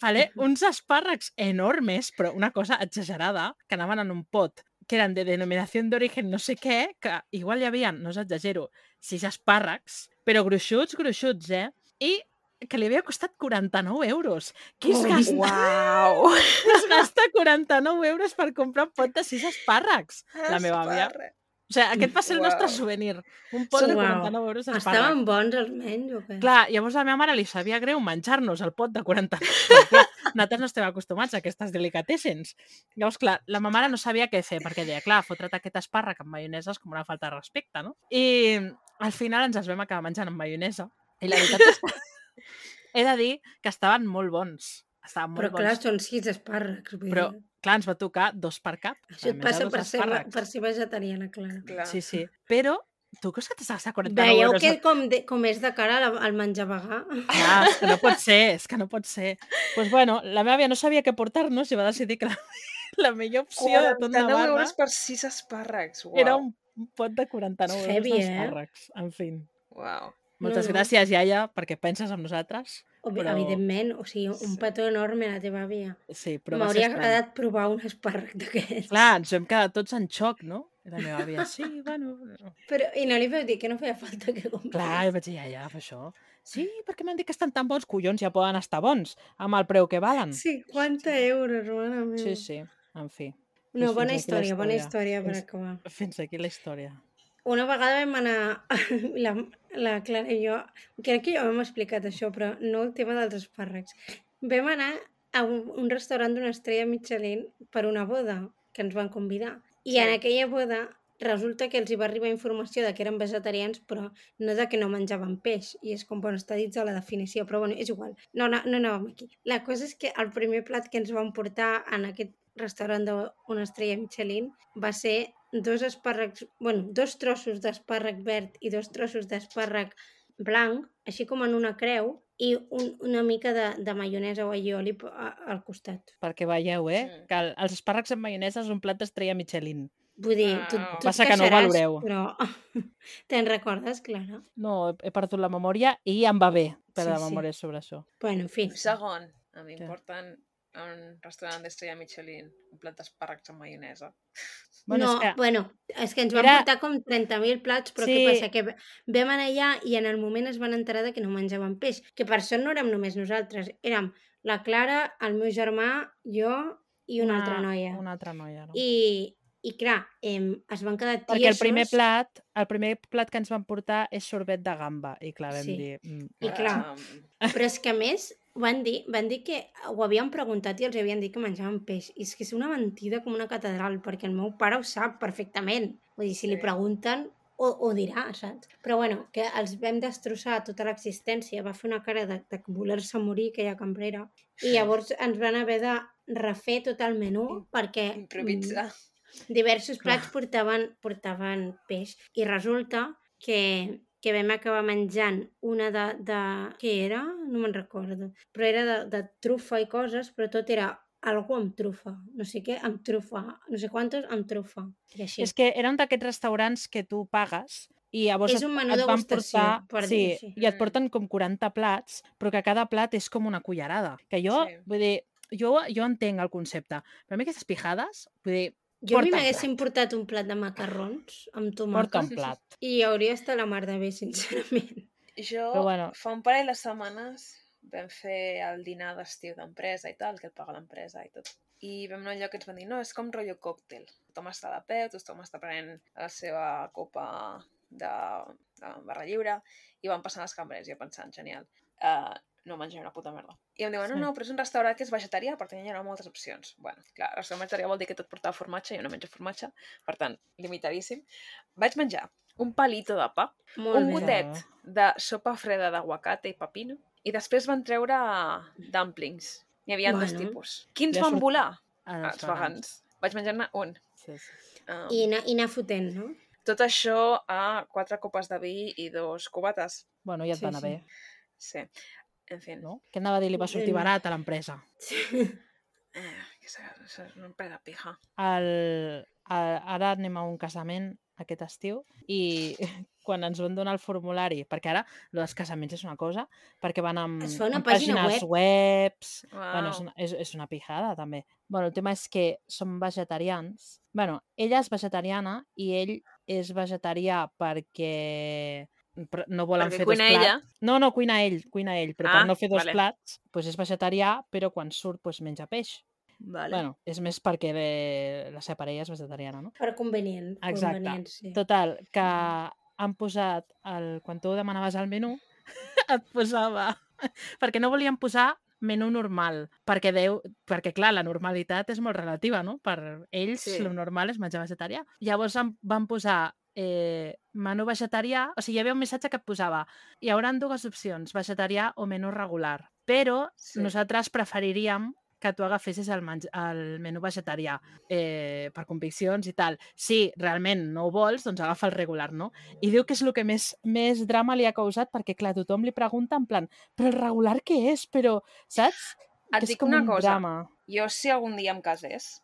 Speaker 4: vale? uns espàrrecs enormes, però una cosa exagerada, que anaven en un pot, que eren de denominació d'origen no sé què, que igual hi havia, no us exagero, sis espàrrecs, però gruixuts, gruixuts, eh? I que li havia costat 49 euros. Qui es, gasta,
Speaker 1: Uau!
Speaker 4: es gasta 49 euros per comprar un pot de sis espàrrecs? La meva àvia. O sigui, aquest va ser el nostre
Speaker 1: Uau.
Speaker 4: souvenir. Un pot
Speaker 1: Són-
Speaker 4: de
Speaker 2: Uau.
Speaker 4: 49 euros d'espàrrecs.
Speaker 2: Estaven bons almenys o què?
Speaker 4: Clar, llavors a la meva mare li sabia greu menjar-nos el pot de 40 euros. Clar, nosaltres no estem acostumats a aquestes delicatessens. Llavors, clar, la meva mare no sabia què fer, perquè deia, clar, fotre't aquest espàrrec amb maionesa és com una falta de respecte, no? I al final ens els vam acabar menjant amb maionesa. I la veritat és que he de dir que estaven molt bons. Estaven molt
Speaker 2: Però clar,
Speaker 4: bons.
Speaker 2: són sis espàrrecs. vull
Speaker 4: Però
Speaker 2: dir.
Speaker 4: clar, ens va tocar dos per cap.
Speaker 2: Això et
Speaker 4: Vam menjar
Speaker 2: passa
Speaker 4: dos
Speaker 2: per ser,
Speaker 4: espàrrecs.
Speaker 2: per ser vegetariana, clar.
Speaker 1: Clar.
Speaker 4: Sí, sí. Però tu creus que t'has gastat 49
Speaker 2: Veieu
Speaker 4: euros
Speaker 2: que com, de, com és de cara a la- al menjar vegà?
Speaker 4: Clar, Ah, és que no pot ser, és que no pot ser. Doncs pues bueno, la meva àvia no sabia què portar-nos i va decidir que la, la millor opció de tot
Speaker 1: 49
Speaker 4: Navarra
Speaker 1: euros per 6 espàrrecs. Uau.
Speaker 4: era un pot de 49
Speaker 2: És
Speaker 4: euros
Speaker 2: heavy, eh?
Speaker 4: d'espàrrecs. En fi,
Speaker 1: Uau.
Speaker 4: moltes
Speaker 2: no.
Speaker 4: gràcies, iaia, perquè penses en nosaltres.
Speaker 2: Obvi,
Speaker 4: Però-
Speaker 2: Evidentment, o sigui, un
Speaker 1: Sí.
Speaker 2: petó enorme a la teva àvia.
Speaker 4: Sí, però va ser
Speaker 2: M'hauria
Speaker 4: estrany.
Speaker 2: agradat provar un espàrrec d'aquests.
Speaker 4: Clar, ens vam quedar tots en xoc, no? I la meva àvia, sí, bueno...
Speaker 2: Però, I no li veu dir que no feia falta que comprés.
Speaker 4: Clar, i vaig dir, iaia, fa això. Sí, perquè m'han dit que estan tan bons, collons, ja poden estar bons, amb el preu que valen.
Speaker 2: 50 euros, mare meva.
Speaker 4: sí, sí en fi.
Speaker 2: No,
Speaker 4: Doncs
Speaker 2: bona
Speaker 4: fins aquí la
Speaker 2: història, bona història per
Speaker 4: Fins-
Speaker 2: acabar.
Speaker 4: Fins aquí la història.
Speaker 2: Una vegada vam anar, la, la Clara i jo, crec que ja ho hem explicat això, però no el tema dels espàrrecs. Vam anar a un, un restaurant d'una estrella Michelin per una boda que ens van convidar. I en aquella boda resulta que els hi va arribar informació de que eren vegetarians, però no de que no menjaven peix, i és com, bueno, està dins de la definició, però bueno, és igual. No, no, no anàvem aquí. La cosa és que el primer plat que ens van portar en aquest restaurant d'una estrella Michelin va ser dos espàrrecs, bueno, dos trossos d'espàrrec verd i dos trossos d'espàrrec blanc, així com en una creu, i un, una mica de, de maionesa o aioli p- a- al costat.
Speaker 4: perquè veieu, eh?
Speaker 2: Mm.
Speaker 1: Sí.
Speaker 4: Sí. Que el- els espàrrecs amb maionesa és un plat d'estrella Michelin.
Speaker 2: Vull dir, tu,
Speaker 1: Uau.
Speaker 2: tu et
Speaker 4: Passa que no ho
Speaker 2: queixaràs,
Speaker 4: valoreu.
Speaker 2: Però te'n recordes, Clara?
Speaker 4: No, he, he perdut la memòria i em va bé
Speaker 2: Sí,
Speaker 4: perdre sí, la
Speaker 2: sí.
Speaker 4: memòria sí. sobre això.
Speaker 2: Bueno, en fi.
Speaker 1: Un segon. A mi em
Speaker 4: Què?
Speaker 1: porten a un restaurant d'estrella Michelin un plat d'espàrrecs amb maionesa.
Speaker 4: Bueno,
Speaker 2: no,
Speaker 4: és que-
Speaker 2: bueno, és que ens van
Speaker 4: Era-
Speaker 2: portar com 30.000 plats, però què
Speaker 4: Sí.
Speaker 2: passa? Que v- vam anar allà i en el moment es van enterar de que no menjaven peix, que per sort no érem només nosaltres, érem la Clara, el meu germà, jo i una, altra noia.
Speaker 4: Una altra noia, no?
Speaker 2: I, i clar, em, es van quedar tiesos.
Speaker 4: Perquè el primer plat, el primer plat que ens van portar és sorbet de gamba. I clar, vam
Speaker 2: Sí.
Speaker 4: sí. dir... Mm,
Speaker 2: I clar,
Speaker 1: Um,
Speaker 2: Però és que a més van dir, van dir que eh, ho havien preguntat i els havien dit que menjaven peix. I és que és una mentida com una catedral, perquè el meu pare ho sap perfectament. Vull dir, si li
Speaker 1: Sí.
Speaker 2: pregunten, ho, ho dirà, saps? Però bueno, que els vam destrossar tota l'existència. Va fer una cara de, de voler-se morir aquella cambrera. I llavors ens van haver de refer tot el menú perquè... mm,
Speaker 1: improvisar.
Speaker 2: diversos
Speaker 4: Clar.
Speaker 2: plats portaven, portaven peix i resulta que, que vam acabar menjant una de, de... què era? No me'n recordo. Però era de, de trufa i coses, però tot era algú amb trufa. No sé què, amb trufa. No sé quantos, amb trufa. I així.
Speaker 4: És que era un d'aquests restaurants que tu pagues i llavors
Speaker 2: És
Speaker 4: et-
Speaker 2: un menú
Speaker 4: et van
Speaker 2: degustació,
Speaker 4: portar,
Speaker 2: per
Speaker 4: sí,
Speaker 2: dir-ho així.
Speaker 4: i et
Speaker 1: Mm.
Speaker 4: porten com 40 plats, però que cada plat és com una cullerada. Que jo,
Speaker 1: Sí.
Speaker 4: sí. vull dir, jo, jo entenc el concepte, però a mi aquestes pijades, vull dir,
Speaker 2: jo a mi
Speaker 4: porta un
Speaker 2: m'haguessin portat un plat de macarrons amb
Speaker 4: porta
Speaker 2: tomàquet
Speaker 4: un plat.
Speaker 2: i hauria estat la mar de bé, sincerament.
Speaker 1: Jo,
Speaker 4: Però bueno.
Speaker 1: fa un parell de setmanes, vam fer el dinar d'estiu d'empresa i tal, que et paga l'empresa i tot. I vam anar a un lloc que ens van dir, no, és com rotllo còctel. Tothom està de peu, tothom està prenent la seva copa de, de barra lliure i van passant els cambrers, jo pensant, genial, uh, no menjaré una puta merda. I em diuen, no,
Speaker 4: Sí.
Speaker 1: no, però és un restaurant que és vegetarià, per tant hi haurà moltes opcions. Bueno, clar, restaurant vegetarià vol dir que tot portava formatge, jo no menjo formatge, per tant, limitadíssim. Vaig menjar un palito de pa,
Speaker 2: Molt
Speaker 1: un
Speaker 2: bé.
Speaker 4: gotet.
Speaker 1: gotet de sopa freda d'aguacate i pepino i després van treure eh, dumplings. N'hi havia bueno, dos
Speaker 2: Bueno.
Speaker 1: tipus. Quins
Speaker 4: Ja
Speaker 1: ja van
Speaker 4: surt-
Speaker 1: volar?
Speaker 6: Ah,
Speaker 4: En
Speaker 1: Els vegans. Vaig menjar-ne un.
Speaker 4: Sí, sí.
Speaker 1: Um,
Speaker 2: I anar, I anar fotent, no?
Speaker 1: Tot això a quatre copes de vi i dos cubates.
Speaker 4: Bueno, ja et
Speaker 2: Sí,
Speaker 4: sí, va anar
Speaker 2: sí.
Speaker 4: bé,
Speaker 1: Sí. En fi. No?
Speaker 4: no? Què anava a dir? Li va sortir
Speaker 2: Bueno.
Speaker 4: barat a l'empresa.
Speaker 1: Eh, que s'ha- s'ha- és una empresa pija.
Speaker 4: El, el, ara anem a un casament aquest estiu i quan ens van donar el formulari, perquè ara lo dels casaments és una cosa, perquè van amb,
Speaker 2: Es fa una
Speaker 4: amb
Speaker 2: pàgina
Speaker 4: pàgines
Speaker 2: web.
Speaker 4: webs,
Speaker 1: Wow.
Speaker 6: Ah.
Speaker 4: Bueno, és una, és, és una pijada, també. Bueno, el tema és que són vegetarians. Bueno, ella és vegetariana i ell és vegetarià perquè però no volen
Speaker 6: Perquè
Speaker 4: fer dos
Speaker 6: cuina
Speaker 4: plats.
Speaker 6: ella.
Speaker 4: No, no, cuina ell, cuina ell, però
Speaker 6: Ah,
Speaker 4: per no fer dos
Speaker 6: vale.
Speaker 4: plats, doncs és vegetarià, però quan surt doncs menja peix.
Speaker 6: Vale.
Speaker 4: Vale. Bueno, és més perquè de... la seva parella és vegetariana, no?
Speaker 2: Per convenient.
Speaker 4: Exacte.
Speaker 2: Convenient, sí.
Speaker 4: Total, que han posat, el... quan tu demanaves al menú, et posava... perquè no volien posar menú normal, perquè, deu... perquè clar, la normalitat és molt relativa, no? Per ells,
Speaker 6: Sí.
Speaker 4: sí. lo normal és menjar vegetarià. Llavors em van posar eh, menú vegetarià, o sigui, hi havia un missatge que et posava hi hauran dues opcions, vegetarià o menú regular, però
Speaker 1: Sí.
Speaker 4: sí. nosaltres preferiríem que tu agafessis el, menj- el menú vegetarià eh, per conviccions i tal. Si realment no ho vols, doncs agafa el regular, no? I diu que és el que més, més drama li ha causat perquè, clar, tothom li pregunta en plan però el regular què és? Però, saps?
Speaker 1: Et
Speaker 4: que és
Speaker 1: dic
Speaker 4: com
Speaker 1: una
Speaker 4: un
Speaker 1: cosa. Eh,
Speaker 4: drama.
Speaker 1: Jo, si algun dia em casés,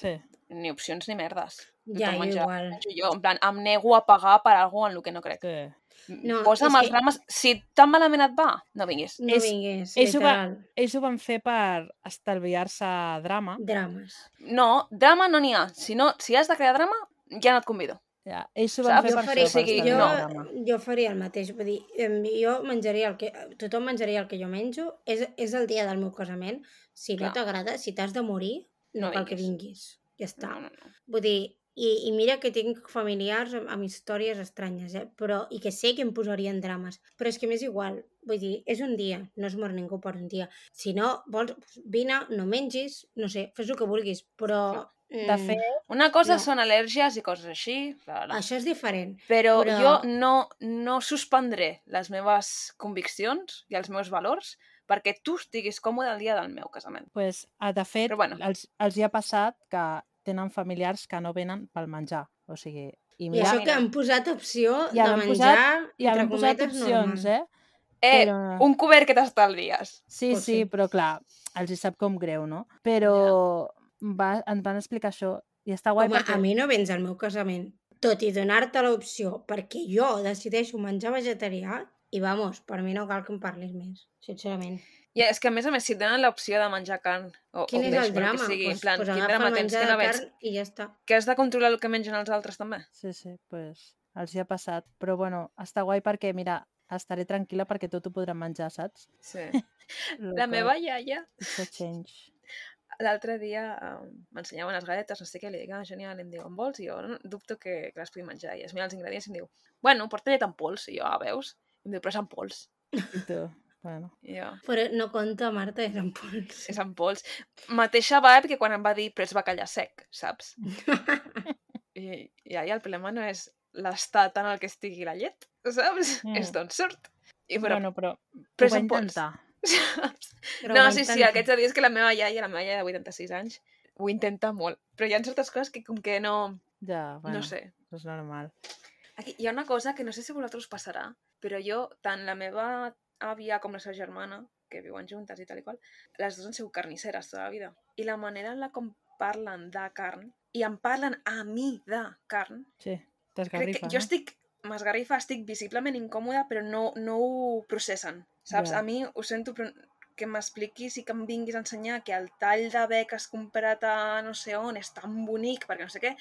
Speaker 4: Sí.
Speaker 1: ni opcions ni merdes.
Speaker 2: Ja,
Speaker 1: Tothom
Speaker 2: jo
Speaker 1: menja-
Speaker 2: igual.
Speaker 1: menjo Jo, en plan, em nego a pagar per alguna en el que no crec.
Speaker 4: sí.
Speaker 1: No,
Speaker 2: No,
Speaker 1: Posa'm
Speaker 2: és
Speaker 1: els
Speaker 2: que-
Speaker 1: drames. Si tan malament et va, no vinguis.
Speaker 2: No
Speaker 4: És-
Speaker 2: vingués,
Speaker 4: és ho va-
Speaker 2: literal.
Speaker 4: Ells ho van fer per estalviar-se drama.
Speaker 2: Drames.
Speaker 1: No, drama no n'hi ha. Si, no, si has de crear drama, ja no et convido.
Speaker 4: Ja. Ells ho van
Speaker 1: Saps?
Speaker 4: fer
Speaker 2: Jo,
Speaker 4: per,
Speaker 2: faria,
Speaker 4: això, per
Speaker 1: sigui,
Speaker 4: estalviar-se
Speaker 2: jo,
Speaker 1: no.
Speaker 4: drama.
Speaker 2: jo faria el mateix, vull dir, em, jo menjaria el que... Tothom menjaria el que jo menjo, és, és el dia del meu casament, si no
Speaker 1: Clar.
Speaker 2: t'agrada, si t'has de morir, no,
Speaker 1: No
Speaker 2: cal que
Speaker 1: vinguis.
Speaker 2: vinguis, ja està.
Speaker 1: No, no, no.
Speaker 2: Vull dir, i, i mira que tinc familiars amb, amb històries estranyes, eh? Però, i que sé que em posarien drames, però és que m'és igual. Vull dir, és un dia, no es mor ningú per un dia. Si no, vols, doncs vine, no mengis, no sé, fes el que vulguis, però...
Speaker 4: De
Speaker 2: mm,
Speaker 4: fet,
Speaker 1: Una cosa
Speaker 2: No.
Speaker 1: són al·lèrgies i coses així, clar,
Speaker 2: Això és diferent.
Speaker 1: però,
Speaker 2: però-
Speaker 1: jo no, no suspendré les meves conviccions i els meus valors perquè tu estiguis còmode el dia del meu casament.
Speaker 4: pues, ah, de fet
Speaker 1: Però bueno.
Speaker 4: els, els hi ha passat que tenen familiars que no venen pel menjar. O sigui, i
Speaker 2: I
Speaker 4: mira,
Speaker 2: això que han posat opció
Speaker 4: I
Speaker 2: de
Speaker 4: han
Speaker 2: menjar,
Speaker 4: posat- i
Speaker 2: entre
Speaker 4: han posat
Speaker 2: cometes,
Speaker 4: opcions,
Speaker 2: normal.
Speaker 4: eh?
Speaker 1: Eh,
Speaker 4: Però...
Speaker 1: un cobert que t'estalvies.
Speaker 4: Sí,
Speaker 2: Pues
Speaker 4: sí,
Speaker 2: sí.
Speaker 4: però clar, els hi sap com greu, no? Però va, ens van explicar això i està guai
Speaker 2: Home,
Speaker 4: perquè...
Speaker 2: a mi no vens al meu casament. Tot i donar-te l'opció perquè jo decideixo menjar vegetarià, i vamos, per mi no cal que em parlis més, sincerament.
Speaker 1: I és que, a més a més, si et donen l'opció de menjar carn o,
Speaker 2: Quin
Speaker 1: o
Speaker 2: és
Speaker 1: peix,
Speaker 2: el
Speaker 1: però
Speaker 2: drama?
Speaker 1: que sigui,
Speaker 2: pues,
Speaker 1: en plan,
Speaker 2: pues
Speaker 1: quin
Speaker 2: agafa
Speaker 1: drama
Speaker 2: el
Speaker 1: tens
Speaker 2: menjar
Speaker 1: que no
Speaker 2: de
Speaker 1: veig?
Speaker 2: carn i ja està.
Speaker 1: Que has de controlar el que mengen els altres, també.
Speaker 4: Sí, sí, pues, els hi ha passat. Però bueno, està guai perquè, mira, estaré tranquil·la perquè tot ho podran menjar, saps?
Speaker 1: Sí.
Speaker 4: Lo
Speaker 1: La
Speaker 4: qual
Speaker 1: meva iaia
Speaker 4: it's a change.
Speaker 1: l'altre dia eh, m'ensenyaven les galletes, no sé què, li dic, ah, genial, i em diu, en vols? I jo no, dubto que, que les pugui menjar. I es mira els ingredients i em diu, bueno, porta llet en pols. I jo, ah, veus? I em diu, però és en pols.
Speaker 4: I tu, bueno,
Speaker 1: I jo,
Speaker 2: Però no compta, Marta, és en pols.
Speaker 1: és en pols. Mateixa vibe que quan em va dir, però és bacallà sec, saps? I, i ahir el problema no és l'estat en el que estigui la llet, saps?
Speaker 4: Mm.
Speaker 1: Mm. És d'on surt. I però,
Speaker 4: bueno, però
Speaker 1: però
Speaker 4: ho
Speaker 1: és
Speaker 4: va
Speaker 1: en pols.
Speaker 4: intentar.
Speaker 1: Saps?
Speaker 2: Però
Speaker 1: no,
Speaker 2: va
Speaker 1: sí, sí,
Speaker 2: intentar.
Speaker 1: aquests dies que la meva iaia, la meva iaia de 86 anys, ho intenta molt. Però hi ha certes coses que com que no...
Speaker 4: Ja,
Speaker 1: Bueno.
Speaker 4: bueno,
Speaker 1: No sé.
Speaker 4: és normal.
Speaker 1: Aquí hi ha una cosa que no sé si a vosaltres us passarà, però jo, tant la meva àvia com la seva germana, que viuen juntes i tal i qual, les dues han sigut carnisseres tota la vida. I la manera en la com parlen de carn, i em parlen a mi de carn,
Speaker 4: Sí,
Speaker 1: crec
Speaker 4: t'esgarrifa,
Speaker 1: que jo
Speaker 4: no?
Speaker 1: estic m'esgarrifa, estic visiblement incòmoda, però no, no ho processen, saps?
Speaker 4: Ja.
Speaker 1: A mi ho sento, però que m'expliquis i que em vinguis a ensenyar que el tall de bec que has comprat a no sé on és tan bonic, perquè no sé què,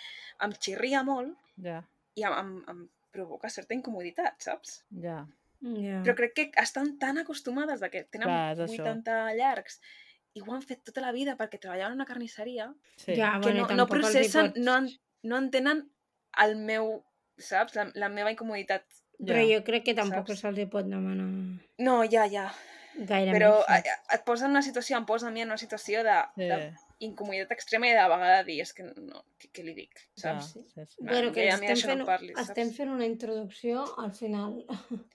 Speaker 1: em xirria molt
Speaker 4: Ja,
Speaker 1: i em, em, em provoca certa incomoditat, saps?
Speaker 4: ja.
Speaker 2: Ja.
Speaker 1: Però crec que estan tan acostumades de que tenen
Speaker 4: Mm. Clar,
Speaker 1: Clar,
Speaker 4: és això.
Speaker 1: 80 llargs i ho han fet tota la vida perquè treballaven en una carnisseria,
Speaker 4: Sí.
Speaker 2: ja,
Speaker 1: que no,
Speaker 2: bueno,
Speaker 1: no
Speaker 2: tampoc els hi
Speaker 1: processen,
Speaker 2: pots-
Speaker 1: no, en, no entenen el meu, saps? La, la meva incomoditat.
Speaker 2: Però
Speaker 4: Ja.
Speaker 2: jo crec que tampoc
Speaker 1: Saps?
Speaker 2: se'ls hi pot demanar
Speaker 1: No, ja, ja.
Speaker 2: gaire
Speaker 1: Però
Speaker 2: més.
Speaker 1: a,
Speaker 2: saps?
Speaker 1: a- et posa en una situació, em posa a mi en una situació de,
Speaker 4: Sí,
Speaker 1: de incomoditat extrema i de vegada dir, és que no, què, què li dic,
Speaker 4: ja,
Speaker 1: saps?
Speaker 4: sí, sí.
Speaker 1: Bueno,
Speaker 2: Bueno, que
Speaker 1: ja eh, a mi
Speaker 2: estem,
Speaker 1: d'això no
Speaker 2: fent,
Speaker 1: em parlis, saps?
Speaker 2: estem fent una introducció al final.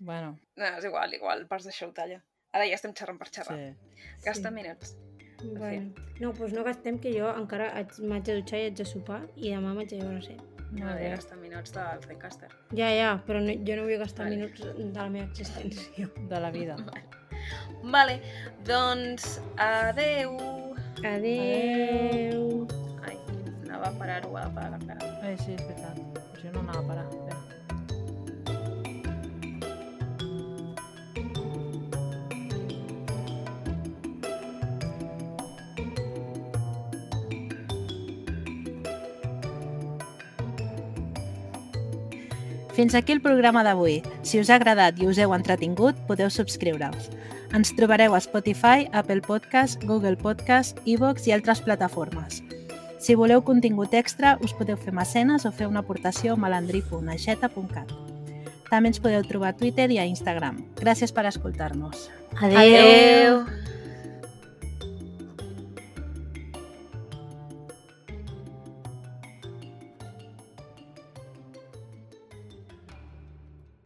Speaker 4: Bueno,
Speaker 1: No, és igual, igual, parts d'això ho talla. Ara ja estem xerrant per xerrar.
Speaker 4: sí.
Speaker 1: Sí. Gasta minuts.
Speaker 2: Bueno, no, doncs no gastem que jo encara haig- m'haig de dutxar i haig de sopar i demà m'haig de veure set.
Speaker 1: No,
Speaker 4: Molt
Speaker 1: ja
Speaker 4: bé.
Speaker 1: gasta minuts del Zencaster.
Speaker 2: Ja, ja, però no, jo no vull gastar
Speaker 1: Vale.
Speaker 2: minuts de la meva existència.
Speaker 4: De la vida.
Speaker 1: Vale, doncs adeu.
Speaker 2: Adeu.
Speaker 1: Ai, anava a parar-ho, a parar la clara.
Speaker 4: Ai, sí, és veritat. Però jo no anava a parar. Espera. Fins aquí el programa d'avui. Si us ha agradat i us heu entretingut, podeu subscriure'ls. Ens trobareu a Spotify, Apple Podcast, Google Podcast, iVoox i altres plataformes. Si voleu contingut extra, us podeu fer mecenes o fer una aportació a malandri.aixeta.cat. També ens podeu trobar a Twitter i a Instagram. Gràcies per escoltar-nos.
Speaker 2: Adeu.